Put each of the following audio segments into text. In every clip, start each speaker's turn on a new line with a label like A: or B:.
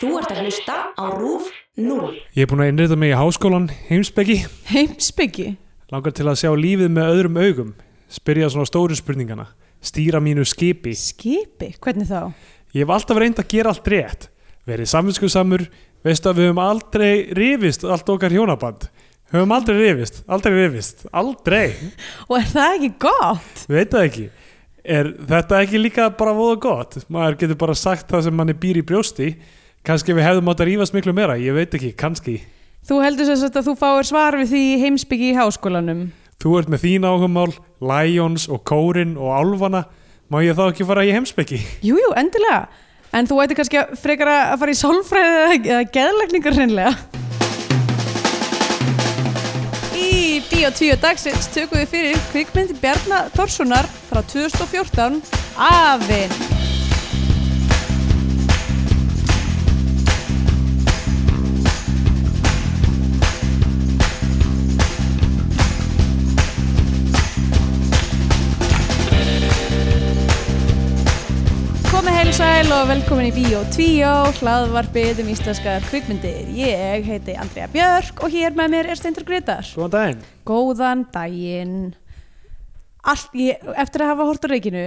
A: Þú ert að hlusta á RÚF 0.
B: Ég er búin að innrita mig í háskólan, heimsbeggi,
C: Heimsbyggi?
B: langar til að sjá lífið með öðrum augum, spyrja svona stóru spurningana, stýra mínu skipi.
C: Skipi? Hvernig þá?
B: Ég hef alltaf reynd að gera allt rétt, verið samvinskusamur, veistu að við höfum aldrei rifist allt okkar hjónaband. Höfum aldrei rifist, aldrei rifist, aldrei,
C: Og er það ekki gott?
B: við veit það ekki. Er þetta ekki líka bara voða gott? Maður getur bara sagt það sem manni býr í brjósti, kannski við hefðum átt að rífast miklu meira, ég veit ekki, kannski.
C: Þú heldur sem sagt að þú fáir svar við því í heimsbyggi í háskólanum.
B: Þú ert með þín áhugmál, Lions og Kórin og Álfana, má ég þá ekki fara í heimsbyggi?
C: Jújú, jú, endilega. En þú ætti kannski að frekar að fara í sálfræði eða, eða geðlækningar hreinlega. Í Bíó 2 dagsins tökum við fyrir kvikmynd Bjarna Þórssonar frá 2014, Afinn. Komið heil og sæl og velkomin í Bíó 2, hlaðvarpið um íslenskar kvikmyndir. Ég heiti Andrea Björk og hér með mér er Steindur Gretar.
B: Góðan daginn.
C: Góðan daginn. Allt, ég, eftir að hafa hort á reikinu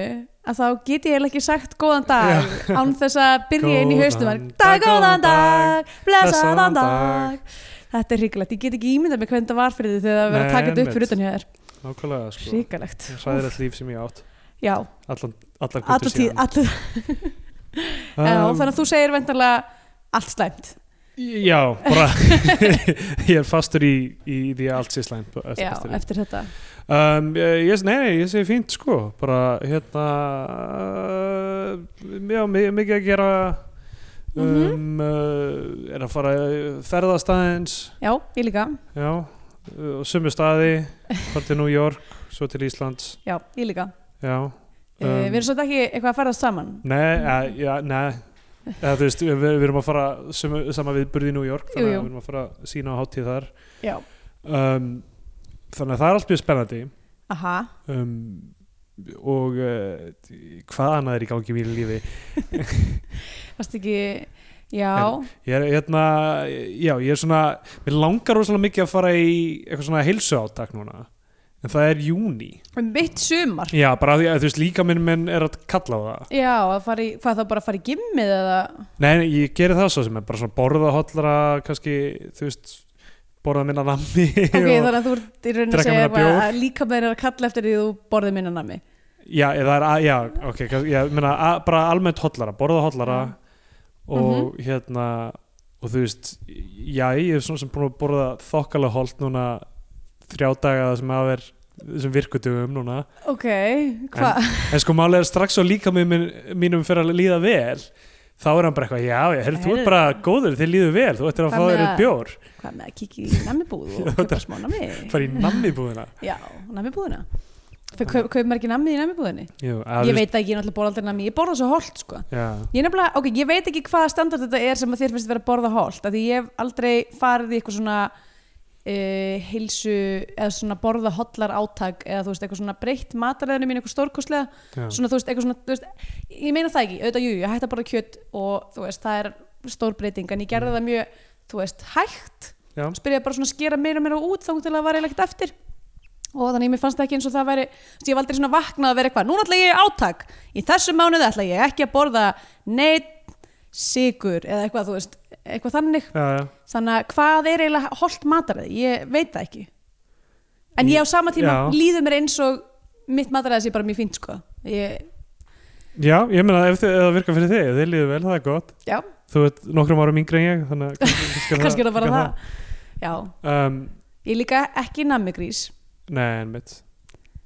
C: að þá get ég eiginlega ekki sagt góðan dag án þess að byrja inn í haustum
B: Góðan dag, góðan
C: dag, góðan dag,
B: blessaðan
C: blessaðan
B: dag.
C: dag Þetta er hrikalegt, ég get ekki ímyndað mig hvernig það var fyrir því þegar það var
B: Nei,
C: að taka þetta
B: einmitt.
C: upp fyrir utan hjá þér
B: Nákvæmlega, sko.
C: Hrikalegt,
B: Sæðilegt líf sem ég átt.
C: já,
B: Allan, allar
C: alltaf tíð, alltaf Já,
B: Um,
C: Þannig að þú segir vendarlega allt slæmt
B: Já, bara, ég er fastur í, í því að allt sé slæmt. eftir-
C: Já,
B: eftir því.
C: eftir þetta
B: Um, ég, ég- nei, nei, ég segi fínt, sko. Bara, hérna, uh, já, mi- mikið að gera,
C: Mhm.
B: um, uh, er að fara uh, ferðast aðeins,
C: Já, ég líka,
B: Já, uh, og sumu staði fór til New York, svo til Íslands
C: já, ég líka
B: Já
C: um, Við erum svolítið ekki eitthvað að farast saman
B: Nei,
C: Mm.
B: ja, ja, nei Eða, þú veist, við, við erum að fara sumu, sama viðburði í New York þannig
C: Jú, jú.
B: að við erum að fara að sína á hátíð þar
C: Já,
B: um, Þannig að það er allt mjög spennandi
C: aha
B: um, og uh, hvað annað er í gangi í mínu lífi
C: Varst ekki, já,
B: Ég er hérna, já, ég er svona mér langar rosalega mikið að fara í eitthvað svona heilsu átak núna en það er júni
C: um mitt sumar.
B: Já, bara af því að þú veist líka minn minn er að kalla á það
C: Já, að fara í, hvað þá bara að fara í gimmið eða,
B: Nei, nei, ég geri það svo sem er bara svona borða hotlara, kannski, þú veist, borða minna nammi
C: ok,
B: og,
C: þannig að þú ert í rauninni
B: Drekka
C: að segja
B: meira bjór.
C: bara að líka með þér er að kalla eftir því þú borðið minna nami.
B: Já, eða það er, að- já, ok, kannski, já, minna, að, bara almennt hotlara, borða hotlara og
C: Mhm.
B: hérna, og þú veist, já, ég er svona sem búin að borða þokkalega holt núna þrjá daga það sem að er þessum virkutugum núna
C: Ok, hvað?
B: en sko málega er strax og líka með minn, mínum fyrir að líða vel þá er hann bara eitthvað, já, heyrðu, þú ert
C: Heyrðu.
B: bara góður þið líður vel, þú ættir að
C: Hvað
B: fá þér
C: með
B: einn
C: að-
B: bjór
C: Hvað með að kíkja í namibúð og kaupa smá nami?
B: fara í nammibúðina
C: Já, namibúðina. Fyrir kaup, kaup maður ekki namið í namibúðinni?
B: Jú, að,
C: Ég veit það ekki, ég náttúrulega borða aldrei nami, ég borða svo holt sko.
B: Já,
C: Ég nefnilega, ok, ég veit ekki hvaða standard þetta er sem að þér finnst vera að borða holt af því ég hef aldrei farið í eitthvað svona uh, heilsu eða svona borða hotlar átak eða þú veist, eitthvað svona breytt mataræðinu mín eitthvað stórkostlega,
B: já.
C: svona þú veist, eitthvað svona þú veist, ég meina það ekki, auðvitað jú, jú, ég hætti að borða kjött og þú veist, það er stór breyting en ég gerði það mjög, þú veist, hægt
B: Já.
C: spyrjaði bara svona að skera meira og meira út þá til að það var eiginlega ekkert eftir og þannig að mér fannst það ekki eins og það væri þú veist, ég var aldrei svona vaknað að vera eitthvað, núna ætla ég í átak í þessum mánuði ætla ég ekki að borða neitt sigur eða eitthvað, þú veist, eitthvað þannig
B: Já, já.
C: þannig að hvað er eiginlega holt mataræði ég veit það ekki en ég á sama tíma
B: Já.
C: líður mér eins og mitt mataræði sé bara mjög fínt sko ég,
B: já, ég meina ef þið- ef það virkar fyrir þig, ef þið líður vel, það er gott
C: já,
B: Þú ert nokkrum árum yngri en ég þannig að kannski,
C: kannski er það bara
B: líka
C: það, já,
B: það. um,
C: ég líka ekki nammigrís
B: Nei, en mitt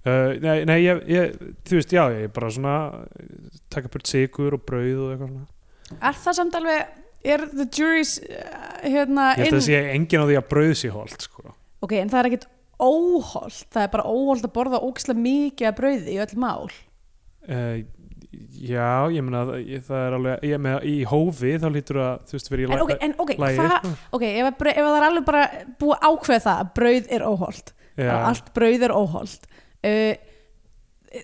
B: uh, Nei, nei ég, ég, þú veist, já, ég bara svona eh, taka burt sigur og brauð og eitthvað svona
C: er það samt alveg, er the jury's uh, hérna
B: Ég held að það sé enginn á því að brauð sé holt sko.
C: Ok, en það er ekkert óholt, það er bara óholt að borða ógislega mikið af brauði í öll mál.
B: uh, Já, ég meina það- ég- það er alveg, ég meina í hófi þá lítur að, þú veist, verið í
C: En ok, en ok,
B: lagi,
C: hvað,
B: sko.
C: ok, ef, að brauð, ef að það er alveg bara búið að ákveða það að brauð er óholt,
B: Já.
C: allt brauð er óholt, uh,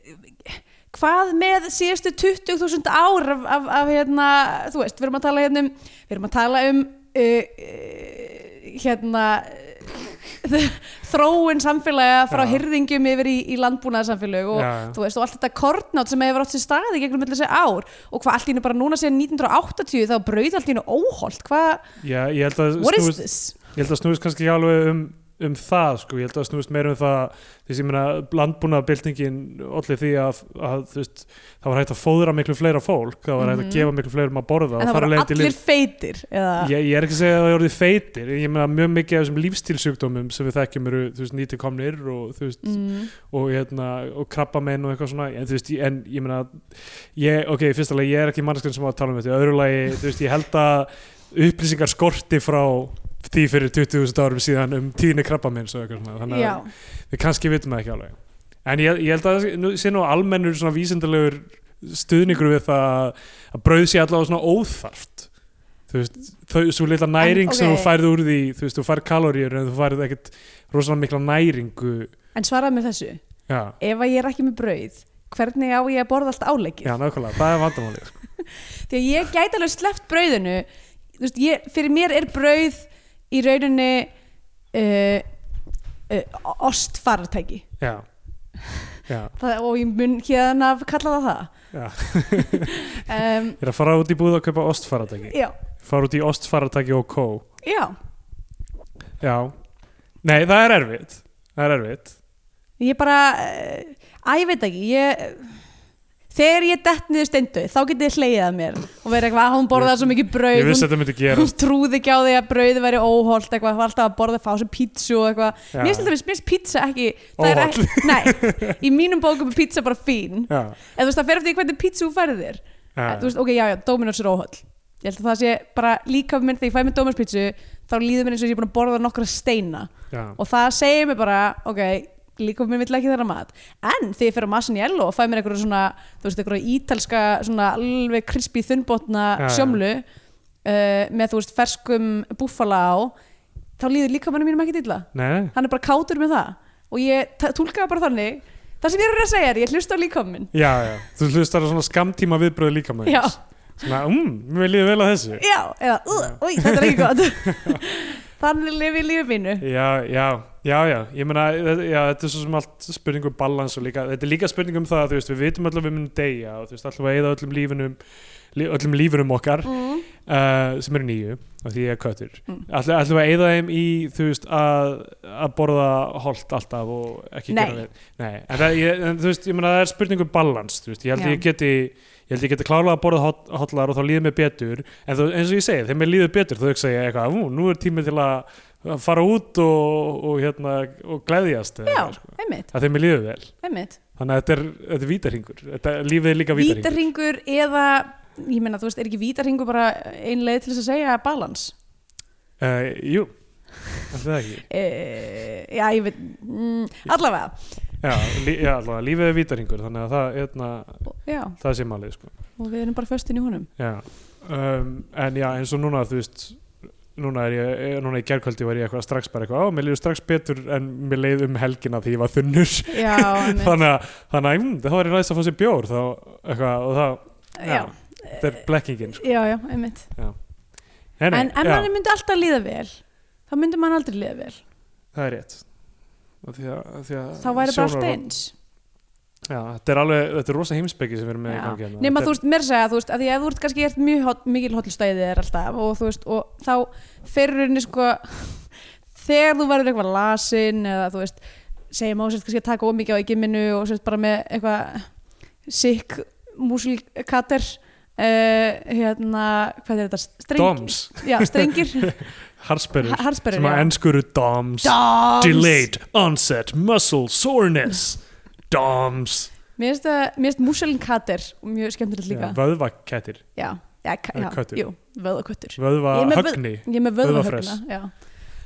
C: hvað með síðustu 20.000 ár af, af, af hérna, þú veist, við erum að tala hérna um við erum að tala um uh, uh, hérna uh, þróun samfélaga frá
B: Já.
C: hirðingjum yfir í, í landbúnaðarsamfélög og,
B: Já, já.
C: þú veist, og allt þetta kornátt sem hefur átt sér staði gegnum millir sér ár og hvað allt í hennu bara núna sér 1980 þá brauð allt í hennu óholt hvað,
B: já, ég held að
C: what is
B: snúist-
C: this?
B: ég held að snúist kannski ekki alveg um, um það sko, ég held að snúist meira um það því sem ég meina landbúnaðabildingin allir því að, að þú veist, það var hægt að fóðra miklu fleira fólk, það var hægt
C: Mhm.
B: að gefa miklu fleirum að borða og
C: en það
B: þar af
C: voru
B: leiðandi
C: allir
B: lif-
C: feitir eða,
B: ég, ég er ekki að segja að það er orðið feitir ég meina mjög mikið af þessum lífstílsjúkdómum sem við þekkjum eru þú veist, nýtikomnir og, þú veist,
C: mm,
B: og, hérna, og krabbamein og eitthvað svona en, þú veist, ég- en ég meina ég, ok, í fyrsta lagi, ég er ekki mannskjörn sem á að tala um þetta í öðru lagi, þú veist, ég held að upplýsingar skorti frá því fyrir 20.000 árum síðan um tíðni krabbameins og eitthvað svona þannig
C: já,
B: að við kannski vitum það ekki alveg en ég, ég held að það sé- nú- sé nú almennur svona vísindalegur stuðningur við það að- að brauð sé allavega svona óþarft þú veist, þau, svo litla næring sem
C: ok.
B: þú færð úr því, þú veist, þú færð kaloríur en þú færð ekkert rosalega mikla næringu
C: en svaraði mér þessu
B: já,
C: ef að ég er ekki með brauð hvernig á ég að borða allt áleggið
B: já, nákvæmlega, það er vandamálið sko.
C: því að ég gæti alveg sleppt brauðinu Þú veist, ég, fyrir mér er brauð í rauninni uh, uh, ostfarartæki
B: já, já,
C: það, og ég mun hérna að kalla það
B: já
C: það um,
B: ég er að fara út í búð og kaupa ostfaratæki
C: já,
B: fara út í ostfaratæki og kó
C: já
B: já, nei, það er erfitt það er erfitt
C: ég bara, uh, að ég veit ekki ég Þegar ég dett niður steindu, þá getið þið hleiðið að mér og verið eitthvað, "Ah, hún borðaði svo mikið
B: ég
C: brauð,
B: vissi
C: hún,
B: að þetta myndi gera
C: hún trúði ekki á því að brauði væri óholt, eitthvað, hún var alltaf að borða, fá sér pítsu og eitthvað. Mér finnst þetta mér finnst pizza ekki það er
B: Óholl.
C: ekki- Nei, í mínum bókum er pizza bara fín
B: já,
C: En þú veist, það fer eftir því hvernig pizza þú færið þér
B: já.
C: Þú veist, ok, já, já, Dominos er óhöll Ég held að það sé bara líka minn þegar ég fæ mér Dominos pizzu þá líður mér eins og ég er búin að borða nokkra steina
B: Já,
C: og það segir mér bara, ok líka mér vill ekki þeirra mat en þegar ég fer á Masaniello og fæ mér einhverju svona þú veist, einhverju ítalska, svona alveg krispi
B: Já,
C: þunnbotna
B: já.
C: sjómlu uh, með, þú veist, ferskum búffala á, þá líður líka mannum mínum ekki illa
B: nei,
C: hann er bara kátur með það og ég t- túlka það bara þannig það sem ég er að segja er, ég hlusta á líkominn
B: já, já, þú hlustar á svona skamtíma viðbröðu líka með
C: já,
B: Svona, um, mér líður vel á þessu
C: já, eða uh, új, þetta er ekki gott þannig lifi ég lífið mínu
B: Já, já, já, já, ég meina, þetta- já, þetta er svo sem allt spurning um balans og líka, þetta er líka spurning um það, að, þú veist, við vitum öll að við munum deyja og þú veist, alltaf að eyða öllum lífinum, lí- öllum lífinum okkar
C: mm.
B: uh, sem eru nýju af því ég er köttur mm.
C: Mm.
B: ætlum við að eyða þeim í þú veist að, að borða holt alltaf og ekki
C: Nei.
B: gera við Nei, en, það, ég, en þú veist, ég meina það er spurningu balans, þú veist, ég held
C: Já.
B: ég geti ég held ég geti klárlega að borða hot- hotlar og þá líður mér betur, en þú, eins og ég segi þegar mér líður betur þá hugsa ég eitthvað, "Ú, nú er tími til að að fara út og, og hérna, og gleðjast eða
C: já,
B: eitthvað, sko.
C: einmitt,
B: að þeim mér líður vel
C: einmitt
B: þannig að þetta er, þetta er vítarhingur þetta, lífið er líka vítarhingur
C: vítarhingur eða ég meina, þú veist, er ekki vítarhingur bara ein leið til þess að segja balans
B: uh, Jú, alltaf það ekki
C: e, já, ég veit mm, allavega,
B: Já, lí, já allavega, lífið er vítarhingur þannig að það, eitna,
C: já,
B: það sé málið sko.
C: og við erum bara föstin í honum
B: Já. um, en já, eins og núna þú veist, núna er ég eh, núna í gerkvöldi var ég eitthvað strax bara eitthvað á, mér líður strax betur en mér leið um helgina því ég var þunnur
C: já, einmitt
B: þannig að, þannig að mm, það var ég næst að fá sér bjór þá, eitthvað, og það,
C: já,
B: þetta er blekkingin sko.
C: já, já, einmitt
B: Nei, nei,
C: en ef
B: já,
C: manni myndi alltaf líða vel þá myndi mann aldrei líða vel
B: það er rétt Af því að, af því að
C: þá væri bara allt
B: sjónarhorn-
C: eins
B: já, þetta er alveg, þetta er rosa heimspeki sem við erum með í gangi hérna.
C: nema
B: Þetta
C: þú
B: er-
C: veist, mér að segja, þú veist, að því að þú ert kannski gert mjög hot, mikil hotlustæðið er alltaf og þú veist, og þá ferurinn sko, þegar þú verður eitthvað lasin eða þú veist, segjum á sérst kannski að taka ómikið á eiginminu og sérst bara með eitthvað sikk músilkater uh, hérna, hvað er þetta? Strengir?
B: Doms,
C: Já, strengir,
B: harsperur
C: harsperur
B: sem að ennskuru DOMS,
C: Doms!
B: Delayed Onset Muscle Soreness DOMS
C: Mér finnst það- mér finnst músilkater mjög skemmtilegt líka
B: Vöðvakettir,
C: Já, já, ka-
B: Eða
C: já
B: köttur.
C: jú, vöðaköttur Ég er með vöð-
B: vöðvahögni
C: Ég er með vöðvafress
B: Vöðvafress.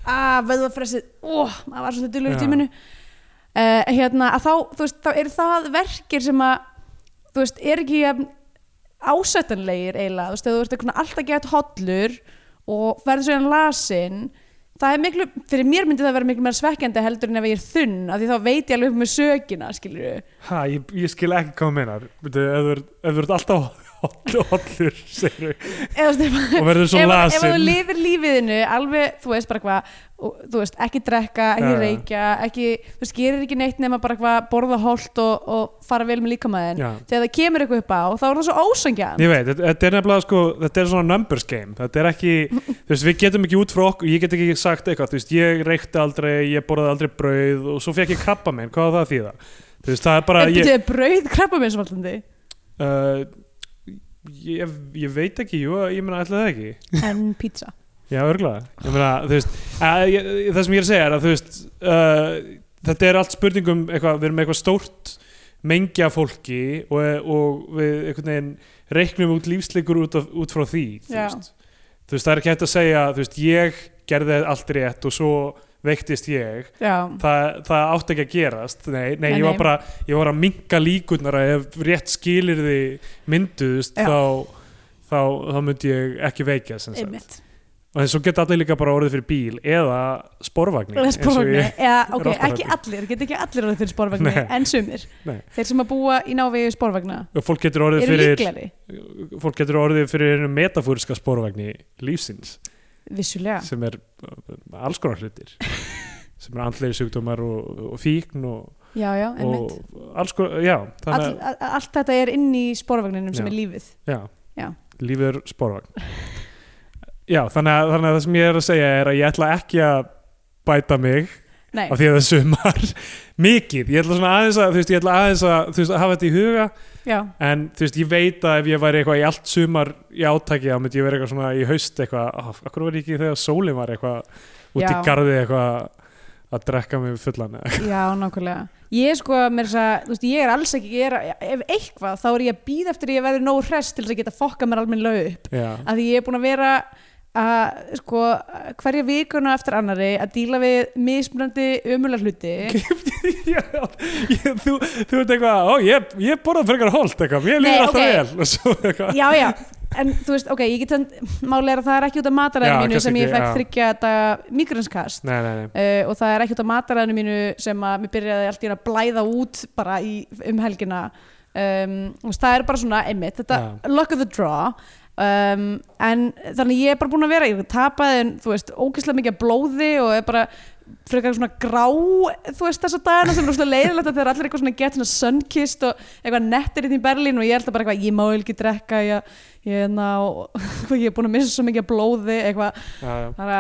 C: ah, Vöðvafressið, ó, maður var svolítið dullur í
B: Já.
C: tíminu uh, hérna, að þá, þú veist, þá er það verkir sem að þú veist, er ekki jafn ásættanlegir eiginlega, þú veist, ef þú ert eitthvað alltaf gett hollur og verður svo enn lasin hérna það er miklu, fyrir mér myndi það vera miklu meira svekkjandi heldur en ef ég er þunn af því þá veit ég alveg upp með sökina, skilur
B: Ha, ég, ég skil ekki hvað þú meinar Byrju, ef þú ert- ef þú ert alltaf holl- hollur segirðu,
C: eða þú veist,
B: og verður svo
C: ef, ef, ef
B: lasin
C: þú lifir lífiðinu alveg, þú veist bara hvað og- þú veist, ekki drekka, ekki
B: Já, já.
C: reykja ekki, þú veist, gerir ekki neitt nema bara hvað borða holt og, og fara vel með líkamæðin
B: Já.
C: þegar það kemur eitthvað upp á þá er það svo ósangjan
B: Ég veit, þetta- þetta er nefnilega sko, þetta er svona numbers game, þetta er ekki, þú veist, við getum ekki út frá okkur, ég get ekki sagt eitthvað, þú veist, ég reykti aldrei, ég borðaði aldrei brauð og svo fekk ég krabba minn, hvað á það að þýða? Þú veist, það er bara,
C: en
B: ég,
C: þetta er brauð krabba mér
B: uh, ég, ég veit ekki, jú, ég meina, ætla það ekki.
C: en pizza
B: Já, örgulega, ég meina, þú veist, að, ég, það sem ég er að segja er að, þú veist, uh, þetta er allt spurningum, eitthvað, við erum með eitthvað stórt mengja fólki og, og við einhvern veginn reiknum út lífsleikur út, af, út frá því, þú
C: Já.
B: veist. Þú veist, það er ekki hægt að segja, þú veist, ég gerði allt rétt og svo veiktist ég,
C: já,
B: það, það átti ekki að gerast, nei, nei,
C: Nei,
B: ég var
C: nei.
B: bara, ég var að minka líkurnar að ef rétt skilir því mynduðust,
C: Já.
B: þá, þá, þá myndi ég ekki veikja, sem sagt
C: einmitt
B: og þess að geta allir líka bara orðið fyrir bíl eða sporvagni
C: eða
B: eins og
C: sporvagni,
B: ég-
C: eða
B: er
C: ok,
B: alltaf
C: ekki
B: hræddur.
C: allir, get ekki allir orðið fyrir sporvagni,
B: Nei.
C: en sumir
B: Nei.
C: þeir sem að búa í návegi sporvagna
B: og fólk getur orðið
C: eru
B: fyrir
C: líklegri,
B: fólk getur orðið fyrir einu metafóriska sporvagni lífsins
C: vissulega
B: sem er uh, alls konar hlutir sem er andlega sjúkdómar og, og fíkn og,
C: já, já,
B: og
C: einmitt
B: alls konar, já,
C: All,
B: þannig að
C: a- a- allt þetta er inn í sporvagninum
B: Já.
C: sem er lífið
B: já,
C: Já.
B: lífið er sporvagn já, þannig að, þannig að það sem ég er að segja er að ég ætla ekki að bæta mig
C: Nei,
B: af því að það er sumar mikið, ég ætla svona aðeins að þú veist, ég ætla aðeins að, þú veist, að hafa þetta í huga
C: já,
B: en þú veist, ég veit að ef ég væri eitthvað í allt sumar í átaki, þá myndi ég vera eitthvað svona í haust eitthvað, "Ah, af hverju var ég ekki þegar sólin var eitthvað út í
C: Já.
B: garði eitthvað að drekka mig fullan eða?"
C: já, nákvæmlega Ég er sko, mér þess að, þú veist, ég er alls ekki ég er, ef eitthvað, þá er ég að býða eftir að ég verði nóg hress til þess að geta fokka mér almenn lög upp
B: já,
C: af því ég er búin að vera að, sko, hverja vikuna eftir annari að díla við mismunandi ömulega hluti
B: já ég, þú, þú veit eitthvað, ó ég, ég borða frekar holt eitthvað, mér
C: Nei,
B: líður alltaf
C: ok.
B: vel og svo eitthvað,
C: Já, já, en þú veist, ok, ég get þann máli er að það er ekki út af mataræðinu
B: Já,
C: mínu
B: kannski
C: sem ég
B: ekki,
C: fekk
B: já.
C: þryggja þetta migranskast
B: nei, nei, nei
C: uh, og það er ekki út af mataræðinu mínu sem að mér byrjaði allt í einu að blæða út bara í, um helgina um, og það er bara svona einmitt, þetta luck of the draw um, en þannig ég er bara búin að vera ég er tapaði, en, þú veist, ógeðslega mikið af blóði og er bara frekar svona grá þú veist þessa dagana sem er svona leiðilegt að þegar allir eitthvað svona get svona sunkist og eitthvað nettir inn í Berlín og ég er alltaf bara eitthvað ég má ekki drekka ég, ég, ná, ég er búin að missa svo mikið af blóði eitthvað
B: já, já.
C: þannig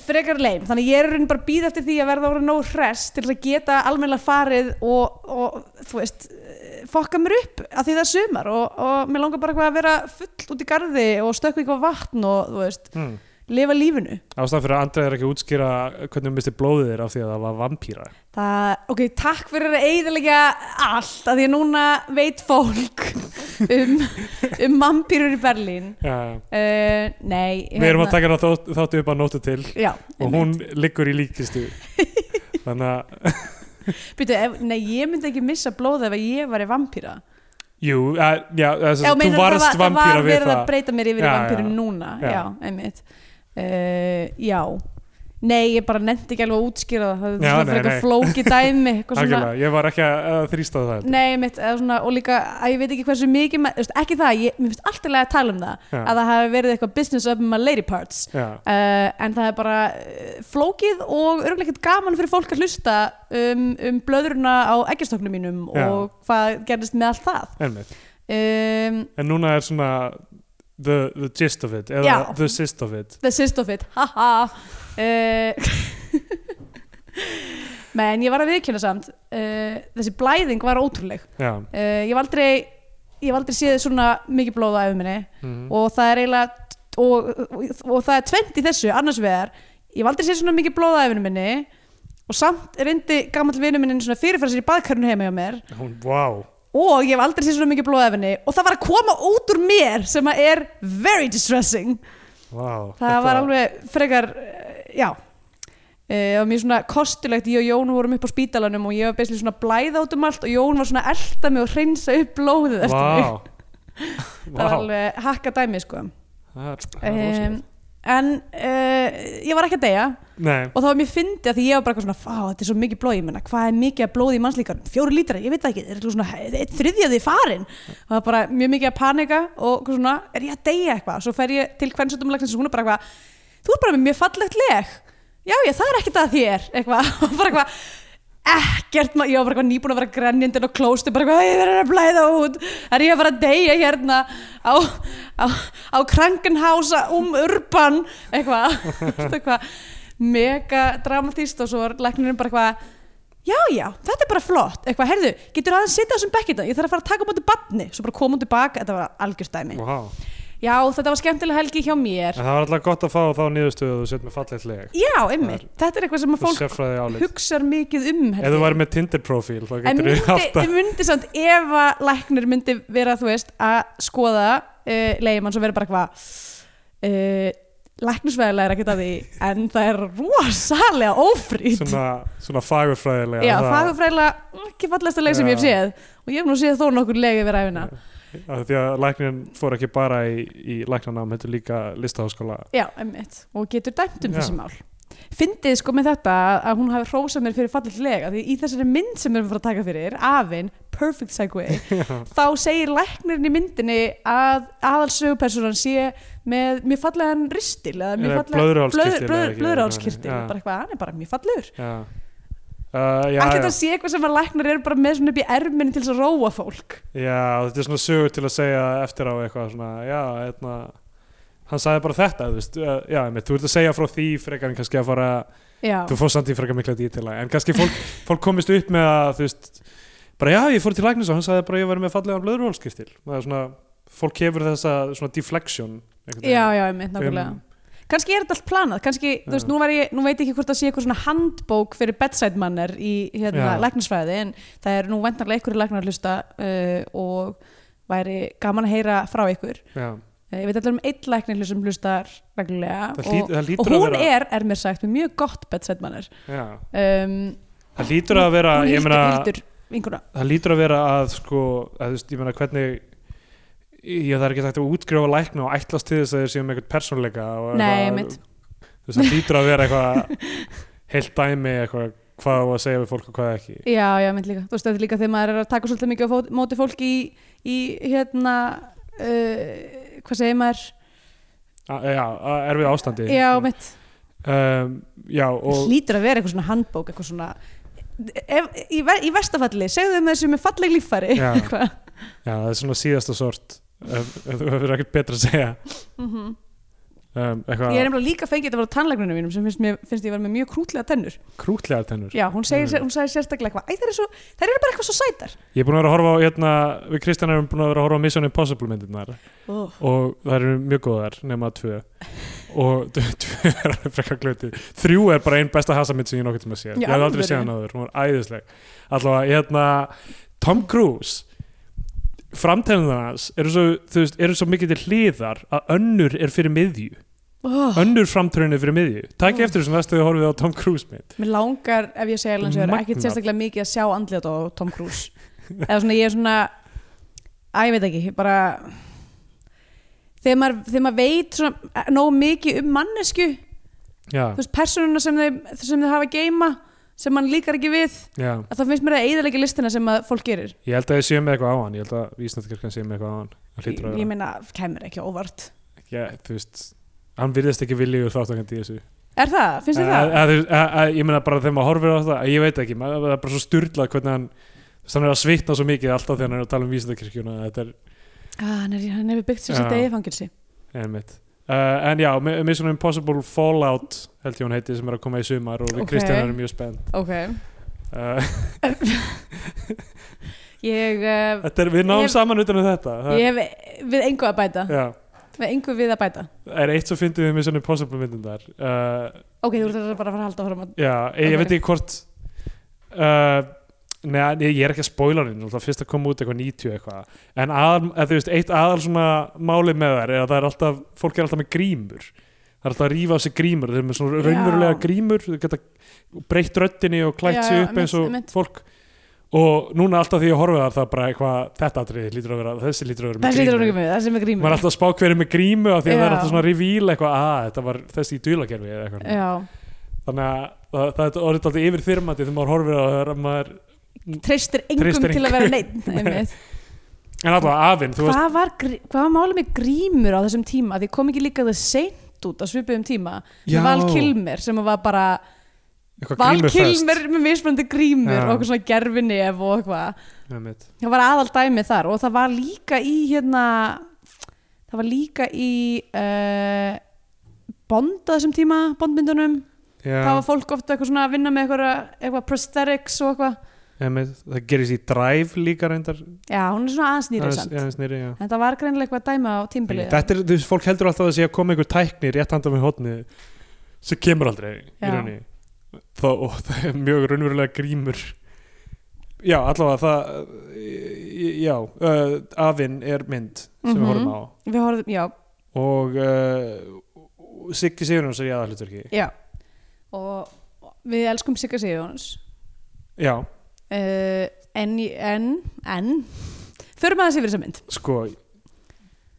C: að frekar leim, þannig að ég er í rauninni bara að býða eftir því að verða orðin nóg hress til þess að geta almennilega farið og, og þú veist, eh, fokka mér upp að því það er sumar og, og mér langar bara eitthvað að vera full út í garði og stökkva eitthvað vatn og þú veist,
B: Hmm.
C: lifa lífinu
B: ástæðan fyrir að Andrið er ekki að útskýra hvernig hún misti blóðið þér af því að það var vampýra
C: Það, ok, takk fyrir að eiginlega allt, að því að núna veit fólk um, um vampýrur í Berlín
B: já,
C: uh, Nei hérna-
B: Við erum að taka hana þátt- þáttu upp að nóta til
C: Já,
B: og hún liggur í líkistu þannig að,
C: Býtu, ef, nei, ég myndi ekki missa blóð ef að ég var í vampýra.
B: jú, að, já, að,
C: Já,
B: þú
C: meinar
B: varst
C: það var-
B: vampýra
C: Það var
B: við
C: verið
B: það
C: að breyta mér yfir í
B: Já,
C: vampýru
B: já.
C: núna, já,
B: Já.
C: einmitt. Uh, já, nei, ég bara nefndi ekki alveg að útskýra það, það
B: Já,
C: er svona
B: nei,
C: frekar
B: nei.
C: flóki dæmi, eitthvað svona.
B: Algjörlega, ég var ekki að, að þrýsta það
C: Nei, einmitt, eða svona, og líka að ég veit ekki hversu mikið, ma- þú veist, ekki það, ég, mér finnst alltaf að tala um það,
B: Já.
C: að það hafi verið eitthvað business up my lady parts,
B: Já,
C: uh, en það er bara uh, flókið og örgulega ekkert gaman fyrir fólk að hlusta um, um blöðruna á eggjastoknum mínum
B: Já.
C: og hvað gerðist með allt það
B: einmitt
C: um,
B: En núna er svona the, the gist of it, eða
C: Já.
B: the sist of it
C: the gist of it haha uh, menn ég var að viðkynna samt uh, þessi blæðing var ótrúleg
B: Já,
C: uh, ég var aldrei ég var aldrei séð svona mikið blóð á minni
B: mm.
C: og það er eiginlega og, og, og það er tvend í þessu annars vegar, ég hef aldrei séð svona mikið blóð á æfinu minni og samt reyndi gamall vinu minni svona fyrirfæra sér í baðkarinu heima hjá mér
B: hún, wow
C: og ég hef aldrei séð svona mikið blóð á æfinu og það var að koma út úr mér sem að er very distressing
B: Wow,
C: það var alveg frekar eh, já eh, og mér svona kostulegt, ég og Jón vorum upp á spítalanum og ég var beslega svona blæða út um allt og Jón var svona að elta mig og hreinsa upp blóðið eftir mig,
B: Wow,
C: það var
B: wow.
C: alveg hakka dæmi sko
B: Það er, það er
C: um,
B: rosalegt.
C: en uh, ég var ekki að deyja
B: Nei,
C: og það var mjög fyndið að því ég var bara eitthvað svona "Vá, þetta er svo mikið blóð, ég menna, hvað er mikið að blóði í mannslíkarum fjóri lítrar, ég veit það ekki, er eitthvað svona eitt þriðja af því farin og það var bara mjög mikið að panika og eitthvað svona, er ég að deyja eitthvað svo fer ég til kvensutumlagsins og hún er bara eitthvað þú er bara með mjög fallegt leg já, já, það er ekkert að þér, eitthvað og bara eitthvað, ekkert maður, ég var bara eitthvað nýbúin að vera grenjandinn og klósti bara eitthvað, ég verður að blæða út er ég að fara að deyja hérna á, á, á krankenhása um urban eitthvað, eitthvað mega dramatíst og svo var læknirinn bara eitthvað já, já, þetta er bara flott eitthvað, heyrðu, getur aðeins sitta á þessum bekkita ég þarf að fara að taka á móti badni, svo bara koma hún tilbaka þetta var algjörstæmi,
B: wow.
C: já, þetta var skemmtilega helgi hjá mér,
B: en það var alltaf gott að fá þá niðurstöðu að þú sett með fallegt leg
C: já, einmitt þetta er eitthvað sem að
B: Þú
C: fólk
B: sérfræði álit
C: hugsar mikið um held
B: Ef þú
C: ég.
B: væri með Tinder profíl þá
C: En
B: getur
C: myndi,
B: þú haft
C: ég
B: að
C: myndi samt ef að læknir myndi vera, þú veist, að skoða uh, leiðimann svo verið bara eitthvað uh, læknisveðilega er ekkert að því en það er rosalega ófrýtt
B: svona, svona fagurfræðilega
C: Já,
B: það-
C: fagurfræðilega mm, ekki fallasta leið sem ég
B: Já.
C: hef séð og ég hef nú séð þó nokkur leið yfir æfina
B: af Því að læknin fór ekki bara í, í læknanám heldur líka listaháskóla
C: Já, emmitt, og getur dæmt um
B: Já.
C: þessi mál Fyndið sko með þetta að hún hafi hrósað mér fyrir fallegt leg af því í þessari mynd sem við erum að fara að taka fyrir, Afinn perfect segue, þá segir læknirinn í myndinni að aðalsögupersonan sé með mjög fallegan ristil eða mjög
B: Eða
C: fallegan
B: blöðruhálskirtil, eða ekki?
C: blöðurálskirtil,
B: Já.
C: bara eitthvað, hann er bara mjög fallegur
B: Já, uh, já,
C: Ætli
B: já.
C: þetta sé eitthvað sem að læknar eru bara með svona upp í erminni til þess að róa fólk
B: já, þetta er svona sögur til að segja eftir á eitthvað svona, já, hérna hann sagði bara þetta, þú veist, uh, já, einmitt, þú ert að segja frá því frekar en kannski að fara
C: Já,
B: þú fórst samt í frekar mikla dítila, en kannski fólk, fólk komist upp með að, þú veist bara já, ég fór til læknis og hann sagði bara ég var með fallegan blöðurhólskirtil, það er svona fólk hefur þessa svona deflection einhvern
C: já,
B: veginn.
C: já, emmitt, nákvæmlega
B: Um,
C: Kanski er þetta allt planað, kannski, þú veist, nú, var ég, nú veit ég ekki hvort það sé eitthvað svona handbók fyrir bedside manner í hérna,
B: Já.
C: læknisfræði en það er nú vendarlega einhverju læknar að hlusta uh, og væri gaman að heyra frá ykkur.
B: já,
C: Uh, ég veit allir um einn læknir sem hlustar reglulega
B: það,
C: og,
B: lít, það
C: og
B: lítur að
C: hún
B: vera
C: er, er mér sagt, með mjög gott bedside manner.
B: já,
C: Um,
B: það lítur að vera
C: hún
B: ég
C: hildur,
B: meina-
C: hildur vinkuna.
B: það lítur að vera að sko, að, þú veist, ég meina hvernig ég það er ekki sagt að útgrifa lækna og ætlast til þess að þeir séu með eitthvað persónleika og
C: Nei,
B: eitthvað-
C: mitt.
B: þú veist, það lítur að vera eitthvað heilt dæmi eitthvað hvað á að segja við fólk og hvað ekki
C: Já, já, mitt líka. Þú veist, þetta er líka þegar maður er að taka svolítið mikið á fót- móti fólki í, í hérna, uh, hvað segir maður?
B: A, já, að- erfið ástandi
C: Já, mitt.
B: um, já og
C: hlýtur að vera eitthvað svona handbók eitthvað svona ef, í, ver, í vestafalli, segðu þeim þessu með falleg líffari
B: Já.
C: eitthvað.
B: já, það er svona síðasta sort ef, ef þú hefur ekkert betra að segja um,
C: ég er
B: eitthvað
C: nefnilega líka fengið þetta var á tannleiknunum mínum sem finnst, mér, finnst ég vera með mjög krútlega tennur
B: krútlegar tennur
C: já, hún segir,
B: Mm.
C: hún segir sérstaklega eitthvað "Æ, þær eru, svo, þær eru bara eitthvað svo sætar
B: ég er búin að vera að horfa á hérna, við Kristján erum búin að vera að horfa á Mission Impossible myndirnar
C: oh.
B: og það eru mjög góðar nema tvö og tvö tvö er alveg frekar glöti þrjú er bara einn besta hasamind sem ég nokkuð tíma sé
C: Já,
B: ég hef aldrei
C: alveg.
B: séð hann áður, hún var æðisleg allavega, hérna Tom Cruise framtæðan hans eru svo, þú veist, eru svo mikið til hliðar að önnur er fyrir miðju
C: oh.
B: önnur framtæðan er fyrir miðju takk eftir þessum næstu við horfið á Tom Cruise mynd
C: mér langar, ef ég segja alveg eins og er ekkit
B: Magnað.
C: sérstaklega mikið að sjá andlið á Tom Cruise eða svona ég er svona að ég veit ekki, bara þegar maður, þegar maður veit svona, nóg mikið um mannesku
B: já,
C: þú veist, persónuna sem þau, sem þau hafa að geima sem mann líkar ekki við
B: já,
C: að það finnst mér að eiðalega listina sem að fólk gerir
B: ég held að ég sé með eitthvað á hann ég held að Vísnættkirkan sé með eitthvað á hann hann
C: ég,
B: hlýtur að
C: ég
B: vera,
C: meina, kemur ekki á óvart
B: já, þú veist hann virðist ekki viljugur þáttangandi í þessu
C: er það, finnst
B: Að-
C: þið það?
B: að- að- að- að- ég meina bara þegar maður horfir á þetta að ég veit ekki, maður, það er bara svo styrla hvernig hann þess að hann er að svitna svo mikið alltaf þegar hann er að tala um vísindakirkjuna þetta er
C: Ah, hann, er, hann hefur byggt sér
B: Já.
C: sitt eigið fangilsi
B: einmitt uh, en já, Mi- Mission Impossible Fallout held ég hún heiti sem er að koma í sumar og við
C: Ok.
B: Kristján erum mjög spennt
C: ok
B: uh,
C: ég, uh,
B: þetta er, við náum
C: Ég-
B: saman utan um þetta það,
C: ég hef við engu að bæta
B: já,
C: við engu við að bæta
B: það er eitt svo fyndið við Mission Impossible myndin þar uh,
C: ok, þú ert bara að fara að halda áfram að
B: Já, ég, ég
C: Ok.
B: veit ekki hvort uh, Nei, ég ég er ekki að spoila hann Það fyrst að koma út eitthvað 90 eitthvað En aðal, að þú veist, eitt aðal svona máli með þær er að það er alltaf fólk er alltaf með grímur Það er alltaf að rífa á sig grímur Þeir eru með svona
C: Já.
B: raunverulega grímur Þau geta breytt röddinni og
C: Já,
B: klætt sig
C: já,
B: upp eins og
C: einmitt, einmitt.
B: fólk og núna alltaf því ég horfið þar það er bara eitthvað þetta atriði lítur að vera þessi lítur að vera
C: það
B: með
C: situr hún
B: grímu
C: ekki með, það sem er
B: maður
C: grímur
B: er alltaf að spá hverju með grímu af því að það
C: Já.
B: er alltaf svona revíl eitthvað að þetta var þessi í dulakerfi eða eitthvað
C: Já,
B: þannig að það, það er orðið alltaf yfirþyrmandi þegar maður horfir á það er að maður
C: treystir engum
B: Treystir
C: til að vera neitt einmitt.
B: en alltaf afinn, þú veist
C: hvað var, grí- hvað var málið með grímur á þessum tíma því kom ekki líka það seint út á svipuðum tíma
B: Já.
C: með Val Kilmer sem var bara
B: eitthvað
C: Val
B: grímufest
C: Kilmer með mismunandi grímur
B: Já.
C: og okkur svona gerfinef og eitthvað
B: Einmitt.
C: það var aðal dæmi þar og það var líka í hérna það var líka í uh, Bond á þessum tíma Bondmyndunum,
B: Já,
C: það var fólk ofta eitthvað svona að vinna með eitthvað, eitthvað prosthetics og eitthvað,
B: einmitt. það gerist í drive líka reyndar
C: já hún er svona aðeins nýrið
B: Aðeins-
C: samt,
B: aðeins nýrri, já.
C: en það var greinilega eitthvað dæma á tímbilið
B: þetta er, þú veist, fólk heldur alltaf að sé að koma einhver tækni rétt handa með hotni sem kemur aldrei í
C: Já.
B: rauninni Þó, og það er mjög raunverulega grímur já, allavega það eh, já, uh, Afinn er mynd sem
C: Mhm.
B: við horfum á
C: við horfum, já,
B: og uh, Siggi Sigurjóns er í aðalhlutverki
C: Já og við elskum Sigga Sigjóns
B: já,
C: uh, en, en, en förum aðeins yfir þessa mynd
B: sko